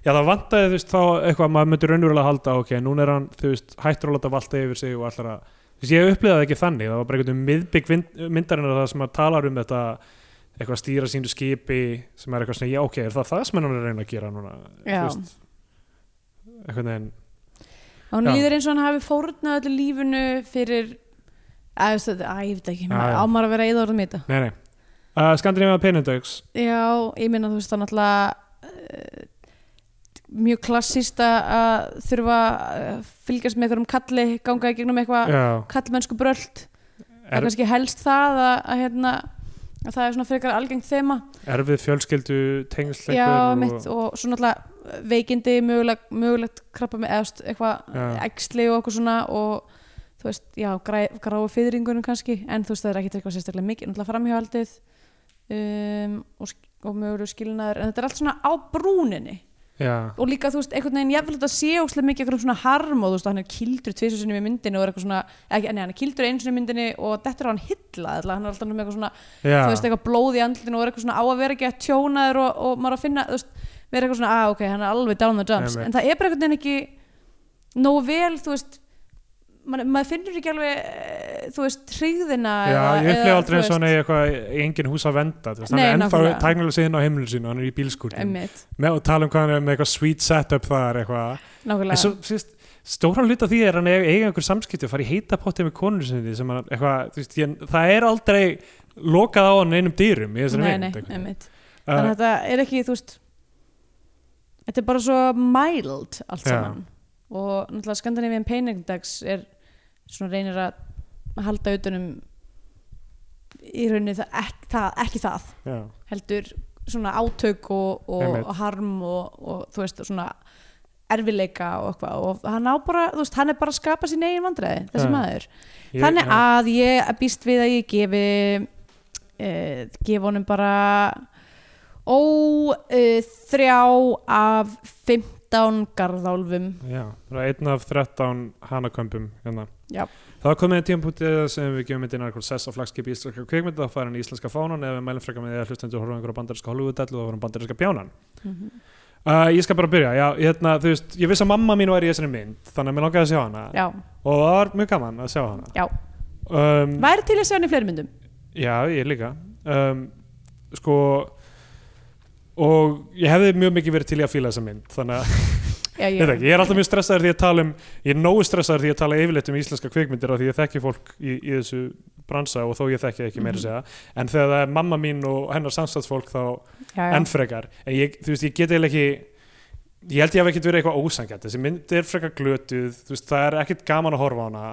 B: Já, það vantaði, þú veist, þá eitthvað maður myndi raunverulega halda, ok, núna er hann, þú veist hættur að láta valta yfir sig og allar að þú veist, ég upplýða það ekki þannig, það var bara einhvern veginn miðbygg vind- myndarinnar það sem að talar um þetta eitthvað að stýra sínu skipi sem er eitthvað svona, já, ok, er það það sem hann er að reyna að gera núna,
C: Já.
B: þú veist eitthvað neginn,
C: og hún
B: Já.
C: líður eins og hann hafi fórnað öllu lífinu fyrir að, þú veist, að ég veit ekki,
B: Já, já.
C: ámar að vera eða orðum í þetta
B: nei, nei uh, Skandinavíða Penundauks,
C: Já, ég meina þú veist það náttúrulega uh, mjög klassíst að- að þurfa að fylgjast með einhverjum kalli ganga í gegnum eitthvað
B: já
C: kallmennsku brölt er
B: er,
C: kannski helst það að, að, hérna, að það er svona frekar algengt þema
B: erfið fjölskyldu tengsleikur
C: Já,
B: og-
C: mitt og svo náttúrulega veikindi möguleg, mögulegt krabba með eðast eitthvað
B: Já.
C: æxli og okkur svona og þú veist, já, græ, gráu fyrringunum kannski en þú veist, það er ekkit eitthvað sérstaklega mikið náttúrulega framhjóaldið um, og, sk- og möguleg skilnaður en þetta er allt svona á brúninni
B: Já,
C: og líka, þú veist, einhvern veginn, ég vil þetta sé óslega mikið eitthvað svona harm og þú veist, hann er kildur tvisur sinni í myndinni og er eitthvað svona ekki, nei, hann er kildur einu sinni í myndinni og þetta er hann hilla hann er alltaf með eitthvað svona
B: já
C: þú veist, eitthvað blóð í andlutinu og er eitthvað svona á að vera ekki að tjónaður og, og maður að finna, þú veist, vera eitthvað svona, að ok, hann er alveg down the dumps,
B: Einmitt.
C: en það er bara einhvern veginn ekki nógu vel, þú veist, maður, maður finnur ekki alveg, eh, þú veist, tryggðina
B: Já,
C: eða-
B: ég upplifa
C: eða,
B: aldrei eins og
C: þú veist,
B: hann eigi eitthvað engin hús að venda, þú veist, hann
C: Nei,
B: er ennþá
C: nákvæmlega.
B: tæknilega síðan á heimilinu sínu, hann er í bílskúrtum
C: Einmitt,
B: með og tala um hvað hann er með eitthvað sweet setup þar eitthvað, en
C: nákvæmlega,
B: svo síst, stóran hluta af því er hann eigi, eigi einhver samskipti og fara í heita potti með konur sinni sem hann, eitthvað, þú veist, ég, það er aldrei lokað á hann einum dýrum í þessari
C: nei,
B: mynd
C: nei,
B: einhvern veginn.
C: einmitt,
B: Uh,
C: þannig að þetta er ekki, þú veist, þetta er bara svo mild allt
B: Já.
C: saman og náttúrulega Scandinavian Paintingdags er svona reynir að halda utanum í rauninni það, ekki, það, ekki það
B: já,
C: heldur svona átök og, og,
B: Einmitt.
C: og harm og, og þú veist svona erfileika og eitthvað og hann á bara, þú veist, hann er bara að skapa sín eigin vandræði, þessi
B: Já.
C: maður
B: ég,
C: þannig
B: já,
C: að ég býst við að ég gefi uh, gefi honum bara ó uh, þrjá af 15 garðálfum
B: já, það er einn af 13 hanakömpum hérna.
C: já,
B: Það komið að tímpútið sem við gefum myndin einhver sess á flagskipi íslenska kvikmynda þá farin í íslenska fánan eða við mælum frekar með því að hlustandi og horfum á einhverja bandarinska Hollywood-dellu og horfum á bandarinska bjánan
C: Mhm.
B: uh, Ég skal bara byrja, já, hérna, þú veist, ég vissi að mamma mín var í þessari mynd þannig að mér langaði að sjá hana
C: já,
B: og það var mjög gaman að sjá
C: já
B: hana um,
C: væri til að sjá hann í fleiri myndum
B: Já, ég líka um, Sko og ég hefði mjög mikið verið til í að fíla þessa mynd þannig að
C: já,
B: Ég, veit ekki, ég er alltaf mjög stressaður því að tala um ég er nógu stressaður því að tala yfirleitt um íslenska kvikmyndir af því ég þekki fólk í, í þessu bransa og þó ég þekki það ekki
C: Mhm.
B: meira að segja en þegar það er mamma mín og hennar samstagsfólk þá
C: já, já.
B: enn frekar en ég, þú veist, ég get eiginlega ekki ég held ég hef ekkert verið eitthvað ósangjart þessi mynd er frekar glötuð þú veist, það er ekkert gaman að horfa á hana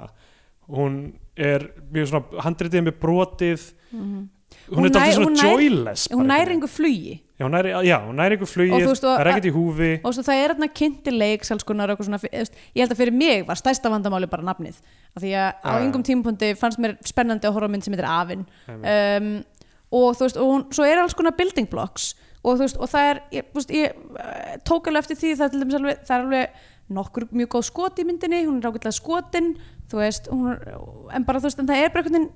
B: hún er mjög svona handritið með brotið
C: Mhm.
B: hún,
C: Hún
B: er
C: nær-
B: dálítið
C: hún
B: svona
C: nær-
B: joyless bara
C: hún
B: einhvern
C: næri
B: veginn.
C: einhver flugi
B: já, hún nær- já, hún næri einhver flugið,
C: veist, og-
B: það er ekkert í húfi
C: og svo það er hérna kynntileiks alls konar og eitthvað svona, eðst, ég held að fyrir mig var stærsta vandamáli bara nafnið af því að á
B: Ah, Já, já.
C: yngum tímapunkti fannst mér spennandi að horfa á mynd sem heitir Afinn um, og þú veist, og hún, svo er alls konar building blocks og þú veist, og það er ég, þú veist, ég eh, tók alveg eftir því það er, til dæmis alveg, það er alveg nokkur mjög góð skot í myndinni, hún er ágætlega skotin þú veist, hún, er- en bara þú veist en það er bara einhvern veginn,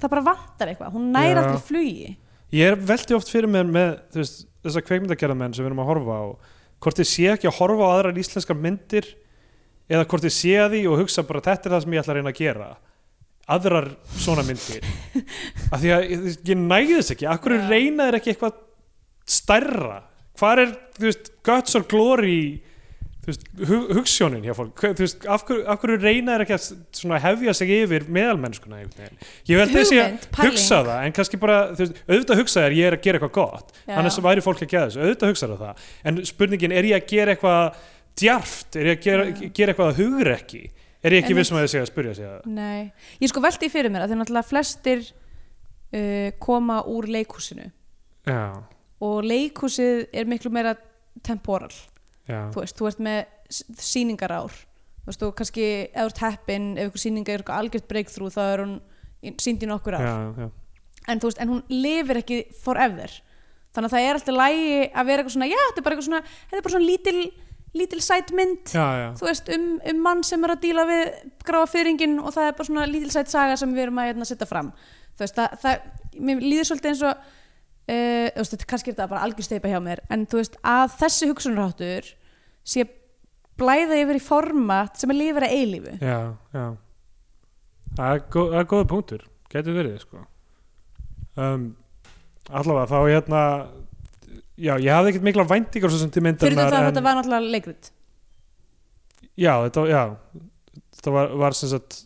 C: það bara vantar eitthvað
B: Já.
C: hún næra allir flugi
B: Ég er veldi oft fyrir mér með þú veist, þessar kveikmyndagerðamenn sem við erum að horfa á hvort ég sé ekki að horfa á aðrar íslenskar myndir eða hvort ég sé að því og hugsa bara þetta er það sem ég ætla að reyna að gera aðrar svona myndir af því að ég, ég næði þess ekki akkur ja. reyna þér ekki eitthvað stærra hvar er, þú veist, Guts or Glory þú þú veist, hu- hugsjónin hjá fólk Hver- þú veist, af hverju, af hverju reyna þeir ekki að s- svona, hefja sig yfir meðalmennskuna einhvern veginn? ég held þessi að
D: Hugmynd, pæling.
B: hugsa það en kannski bara, þú veist, auðvitað hugsa þeir ég er að gera eitthvað gott,
C: Já.
B: annars væri fólk ekki að þessu auðvitað hugsa þeir það, en spurningin er ég að gera eitthvað djarft er ég að gera, gera eitthvað að hugur ekki er ég ekki
C: Einmitt.
B: vissum að þið sé að spyrja sig að
C: Nei, ég sko velti fyrir mér að þeir náttúrulega flestir uh, koma úr leikhúsinu
B: já,
C: og leikhúsið er miklu meira temporal,
B: já,
C: þú veist, þú ert með s- sýningarár, þú veist, þú kannski ef þú ert heppin, ef ykkur sýninga er eitthvað algjört breakthrough, þá er hún í- sýnd í nokkur ár,
B: já, já.
C: en þú veist, en hún lifir ekki forever, þannig að það er alltaf lægi að vera eitthvað svona, já, þetta er bara eitthvað svona þetta er bara svona lítil, lítil sætmynd
B: já, já.
C: þú veist, um, um mann sem er að díla við gráa fyrringin og það er bara svona lítilsætt saga sem við erum að hérna, setja fram þú veist, það, það mér líður svolítið eins og uh, þú veist, þetta kannski er þetta bara algjör steipa hjá mér en þú veist, að þessi hugsunarháttur sé blæða yfir í format sem er lifir að eilífu
B: já, já það er, góð, það er góða punktur getur verið sko um, allavega þá hérna já, ég hafði ekkert mikla væntingar svo sem til
C: fyrir
B: myndarinnar
C: þetta að
B: en-
C: þetta var náttúrulega leikrit
B: já, þetta, já, þetta var, var sem sagt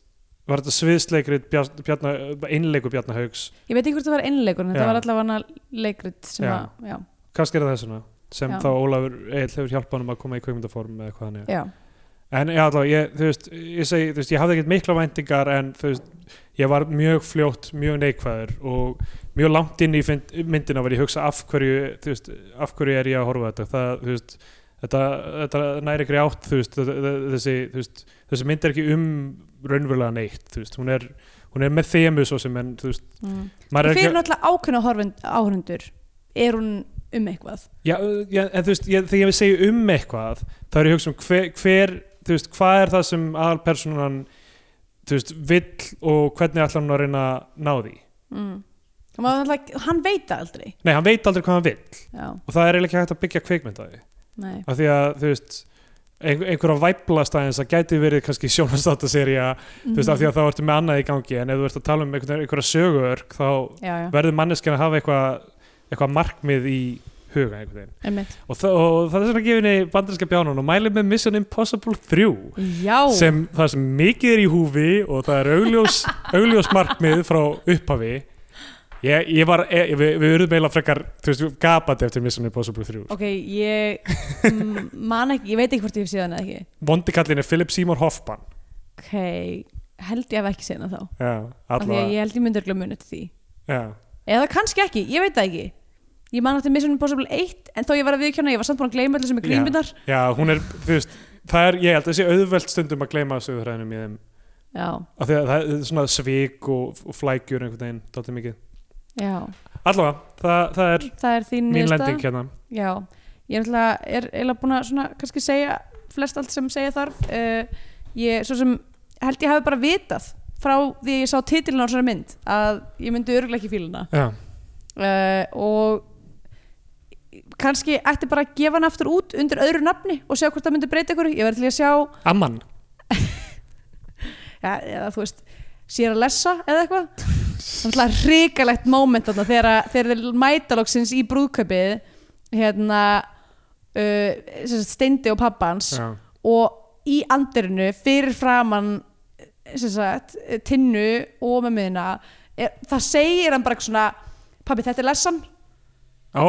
B: var þetta sviðsleikrit Bjarn- Bjarna, einleiku Bjarna Haugs
C: ég veit ekki hvort það var innleikur,
B: Já.
C: en þetta var allavega leikrit sem
B: Já.
C: að, já,
B: kannski er það þessuna sem
C: Já.
B: þá Ólafur Egil hefur hjálpað hann um að koma í kveikmyndaform eða hvað hann er
C: já,
B: en já, allavega, ég, þú veist, ég segi þú veist, ég hafði ekkert mikla væntingar en þú veist, ég var mjög fljótt, mjög neikvæður og mjög langt inn í fynd- myndina var ég að hugsa af hverju þú veist, af hverju er ég að horfa á þetta það, þú veist, þetta, þetta næri ykkur átt þú veist, þ- þ- þessi, þú veist, þessi mynd er ekki um raunverulega neitt þú veist, hún er, hún er með þemu svo sem en þú veist,
C: mm.
B: maður er
C: fyrir
B: ekki
C: náttúrulega ákveðna áhörundur er hún um eitthvað
B: já, já, en þú veist, ég, þegar ég segi um eitthvað þá er ég að hugsa um hver, hver þú veist, hvað er það sem aðalpersonan þú veist, vill og hvernig ætlar hann að reyna að ná því
C: mm. Og maður náttúrulega- hann veit það aldrei
B: nei, hann veit aldrei hvað hann vill
C: já,
B: og það er eiginlega ekki hægt að byggja kveikmynd á því
C: nei
B: af því að, þú veist ein- einhverja væplast aðeins að gæti verið kannski sjónanstáttaserja, þú veist, af því að þá ertu með annað í gangi, en ef þú ert að tala um einhverja, einhverja söguörk, þá
C: já, já,
B: verður manneskjan að hafa eitthvað eitthva markmið í huga einhvern veginn.
C: einmitt
B: Og, það- og það er svona gefinni bandarinska bjánun og mæli með Mission Impossible 3
C: já,
B: sem það sem mikið er í húfi og það er augljós, augljós markmið frá upphafi ég, ég var, ég, við, við erum meila frekar þú veist, gapandi eftir Mission Impossible 3
C: ok, ég mm, man ekki, ég veit ekki hvort ég hef séð hana eða ekki
B: vondi kallin er Philip Seymour Hoffman
C: ok, held ég hef ekki séð hana þá
B: já,
C: af því
B: allavega
C: að ég held ég myndi örgulega munið til því
B: já,
C: eða kannski ekki, ég veit það ekki ég man eftir Mission Impossible 1 en þó ég var að viðkjöna, ég var samt búin að gleyma allir sem er grínbyrnar já.
B: já, hún er, þú veist það er, ég held að sé auðvelt stundum að gleyma sögurhæðinum í þeim,
C: já,
B: af því að það er svona svik og, og flækjur einhvern veginn, dóttir mikið allavega, það, það er
C: það er þín
B: mín
C: niðurstaða?
B: lending hérna
C: já, ég er náttúrulega er eiginlega búin að svona kannski segja flest allt sem segja þarf uh, ég svo sem held ég hafi bara vitað frá því ég sá titilin á svona mynd að ég myndi örgulega ekki fíluna
B: já,
C: uh, og kannski ætti bara að gefa hann aftur út undir öðru nafni og sjá hvort það myndi breyta ykkur ég verði til í að sjá,
B: amman
C: ja, eða þú veist sér að lesa eða eitthvað þannig að hrikalegt moment þarna þegar, að- þegar þeir mæta loksins í brúðkaupið hérna uh, sem sagt, steindi og pappans
B: já,
C: og í andirinu fyrir framann sem sagt, tinnu og mömmuðina er, það segir hann bara eitthvað svona pabbi þetta er lessan,
B: ó,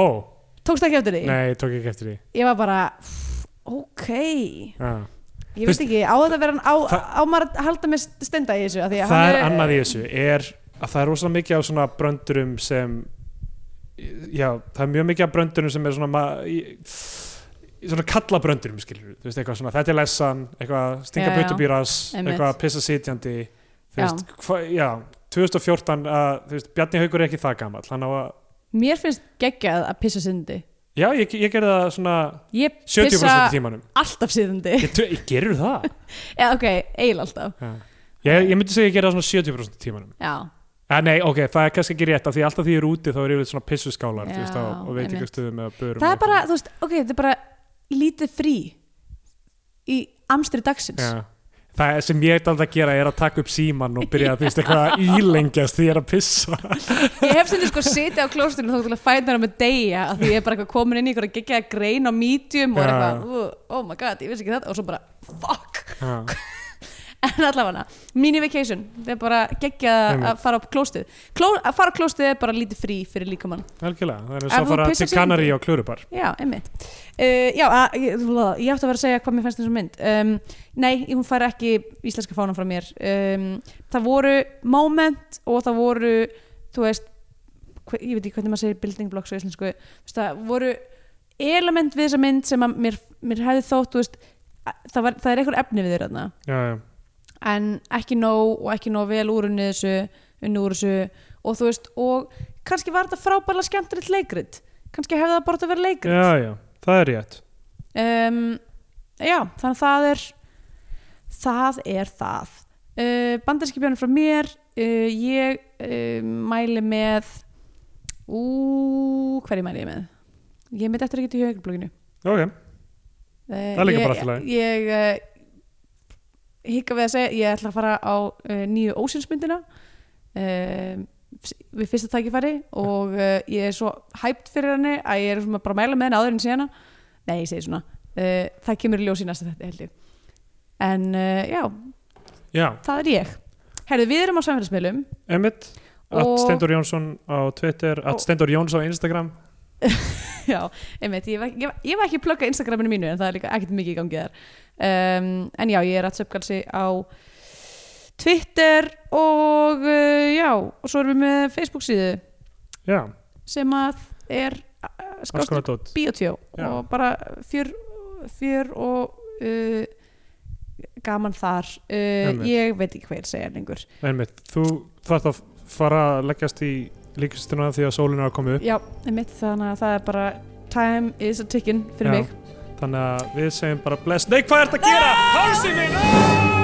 C: tókst ekki eftir því
B: nei, ég tók ekki eftir því
C: ég var bara "Pff, ok,
B: já
C: ég
B: Þú veist-
C: veist ekki á þetta vera, á,
B: Það-
C: á maður að halda með stenda í þessu af því
B: það
C: að hann
B: er annað í þessu er að það er rosalega mikið af svona bröndurum sem já, það er mjög mikið af bröndurum sem er svona ma- í- svona kalla bröndurum skilur þú veist eitthvað svona, þetta er lessan eitthvað stinga
C: Já, já.
B: putubýras,
C: Einmitt.
B: eitthvað pissa sitjandi þú
C: Já.
B: veist, hva, já 2014, að, þú veist, Bjarni Haugur er ekki það gamall, hann á að,
C: mér finnst geggjað að pissa syndi
B: já, ég, ég gerði það svona
C: ég
B: 70%
C: pissa
B: Pissa... tímanum
C: alltaf syndi
B: ég, ég gerur það
C: eða ok, eil alltaf
B: Já. ég, ég myndi segja ég gerði það svona 70% tímanum
C: já,
B: Ja, Ah, nei, ok, það er kannski ekki rétt af því alltaf því ég er úti þá er yfirleitt svona pissuskálar
C: Já,
B: þú veist, á, og veit ekki
C: einmitt.
B: stuðum eða börum
C: það er bara, þú veist, ok, þetta er bara lítið frí í amstri dagsins
B: Já. Það sem ég eitthvað að gera er að taka upp síman og byrja að þú veist eitthvað að ílengjast því ég er að pissa
C: Ég hef sem sko sitið á klóstunum þá til að fæna með deyja að því ég er bara eitthvað komin inn í eitthvað að gegja grein á medium og er
B: Já.
C: eitthvað, "Ú, oh my god, ég vissi ekki þetta og svo bara, fuck
B: Já.
C: en allavega, mini vacation það er bara geggja
B: Einmitt.
C: að fara á klóstið Kló, að fara á klóstið er bara lítið frí fyrir líkamann
B: Algjörlega, það er
C: Ef
B: svo að
C: þú
B: fara
C: pissar
B: til
C: sig
B: Kanarí
C: undir.
B: og Klörubar
C: já, einmitt uh, já, að, ég, ég átti að vera að segja hvað mér fannst þessum mynd um, nei, hún fær ekki íslenska fána frá mér um, það voru moment og það voru þú veist, hve, ég veit ekki hvernig maður segir building blocks á íslensku Þú veist, það voru element við þessa mynd sem að mér, mér hefði þótt þú veist, að, það, var, það er eitthvað efni við þér þarna
B: Já, já,
C: en ekki nóg og ekki nóg vel úr unni þessu, unni úr þessu og þú veist, og kannski var þetta frábæla skemmtilegt leikrit, kannski hefði það bara átt að vera leikrit
B: já, já, það er rétt
C: um, já, þannig að það er það er það uh, bandarskipjónu frá mér uh, ég uh, mæli með ú, hverju mæli ég með? ég með eftir að geta í högurblókinu
B: Ok,
C: Það
B: er líka bara allt í lagi.
C: Eh, Ég, ég uh, hika við að segja, ég ætla að fara á uh, nýju ósynsmyndina uh, við fyrsta tækifæri og uh, ég er svo hæpt fyrir henni að ég er svona bara að mæla með henni áður en síðana Nei, ég segi svona uh, Það kemur í ljós í næsta þetta held ég En uh, já,
B: já,
C: það er ég Herðu, við erum á samfélagsmiðlum
B: Emmett At
C: Og-
B: Steindor Jónsson á Twitter
C: Og-
B: At Steindor Jóns á Instagram
C: Já, einmitt, ég var, ég, var- ég var ekki að plugga Instagraminu mínu en það er líka ekkert mikið í gangi þar um, En já, ég er að söpkalsi á Twitter og uh, já, og svo erum við með Facebook síðu
B: Já,
C: sem að er uh,
B: alls
C: skást
B: konar dót
C: biotjó
B: Já.
C: og bara fjör, fjör og uh, gaman þar uh,
B: Einmitt.
C: Ég veit ekki hvað ég er að segja lengur
B: Emmett, þú þarft að fara að leggjast í líkistuna því að sólinu er að koma upp
C: Já, einmitt, þannig að það er bara time is a ticking fyrir
B: Já.
C: mig
B: Þannig að við segjum bara bless Nei, hvað ertu að gera? Hálsinn minn! Ah!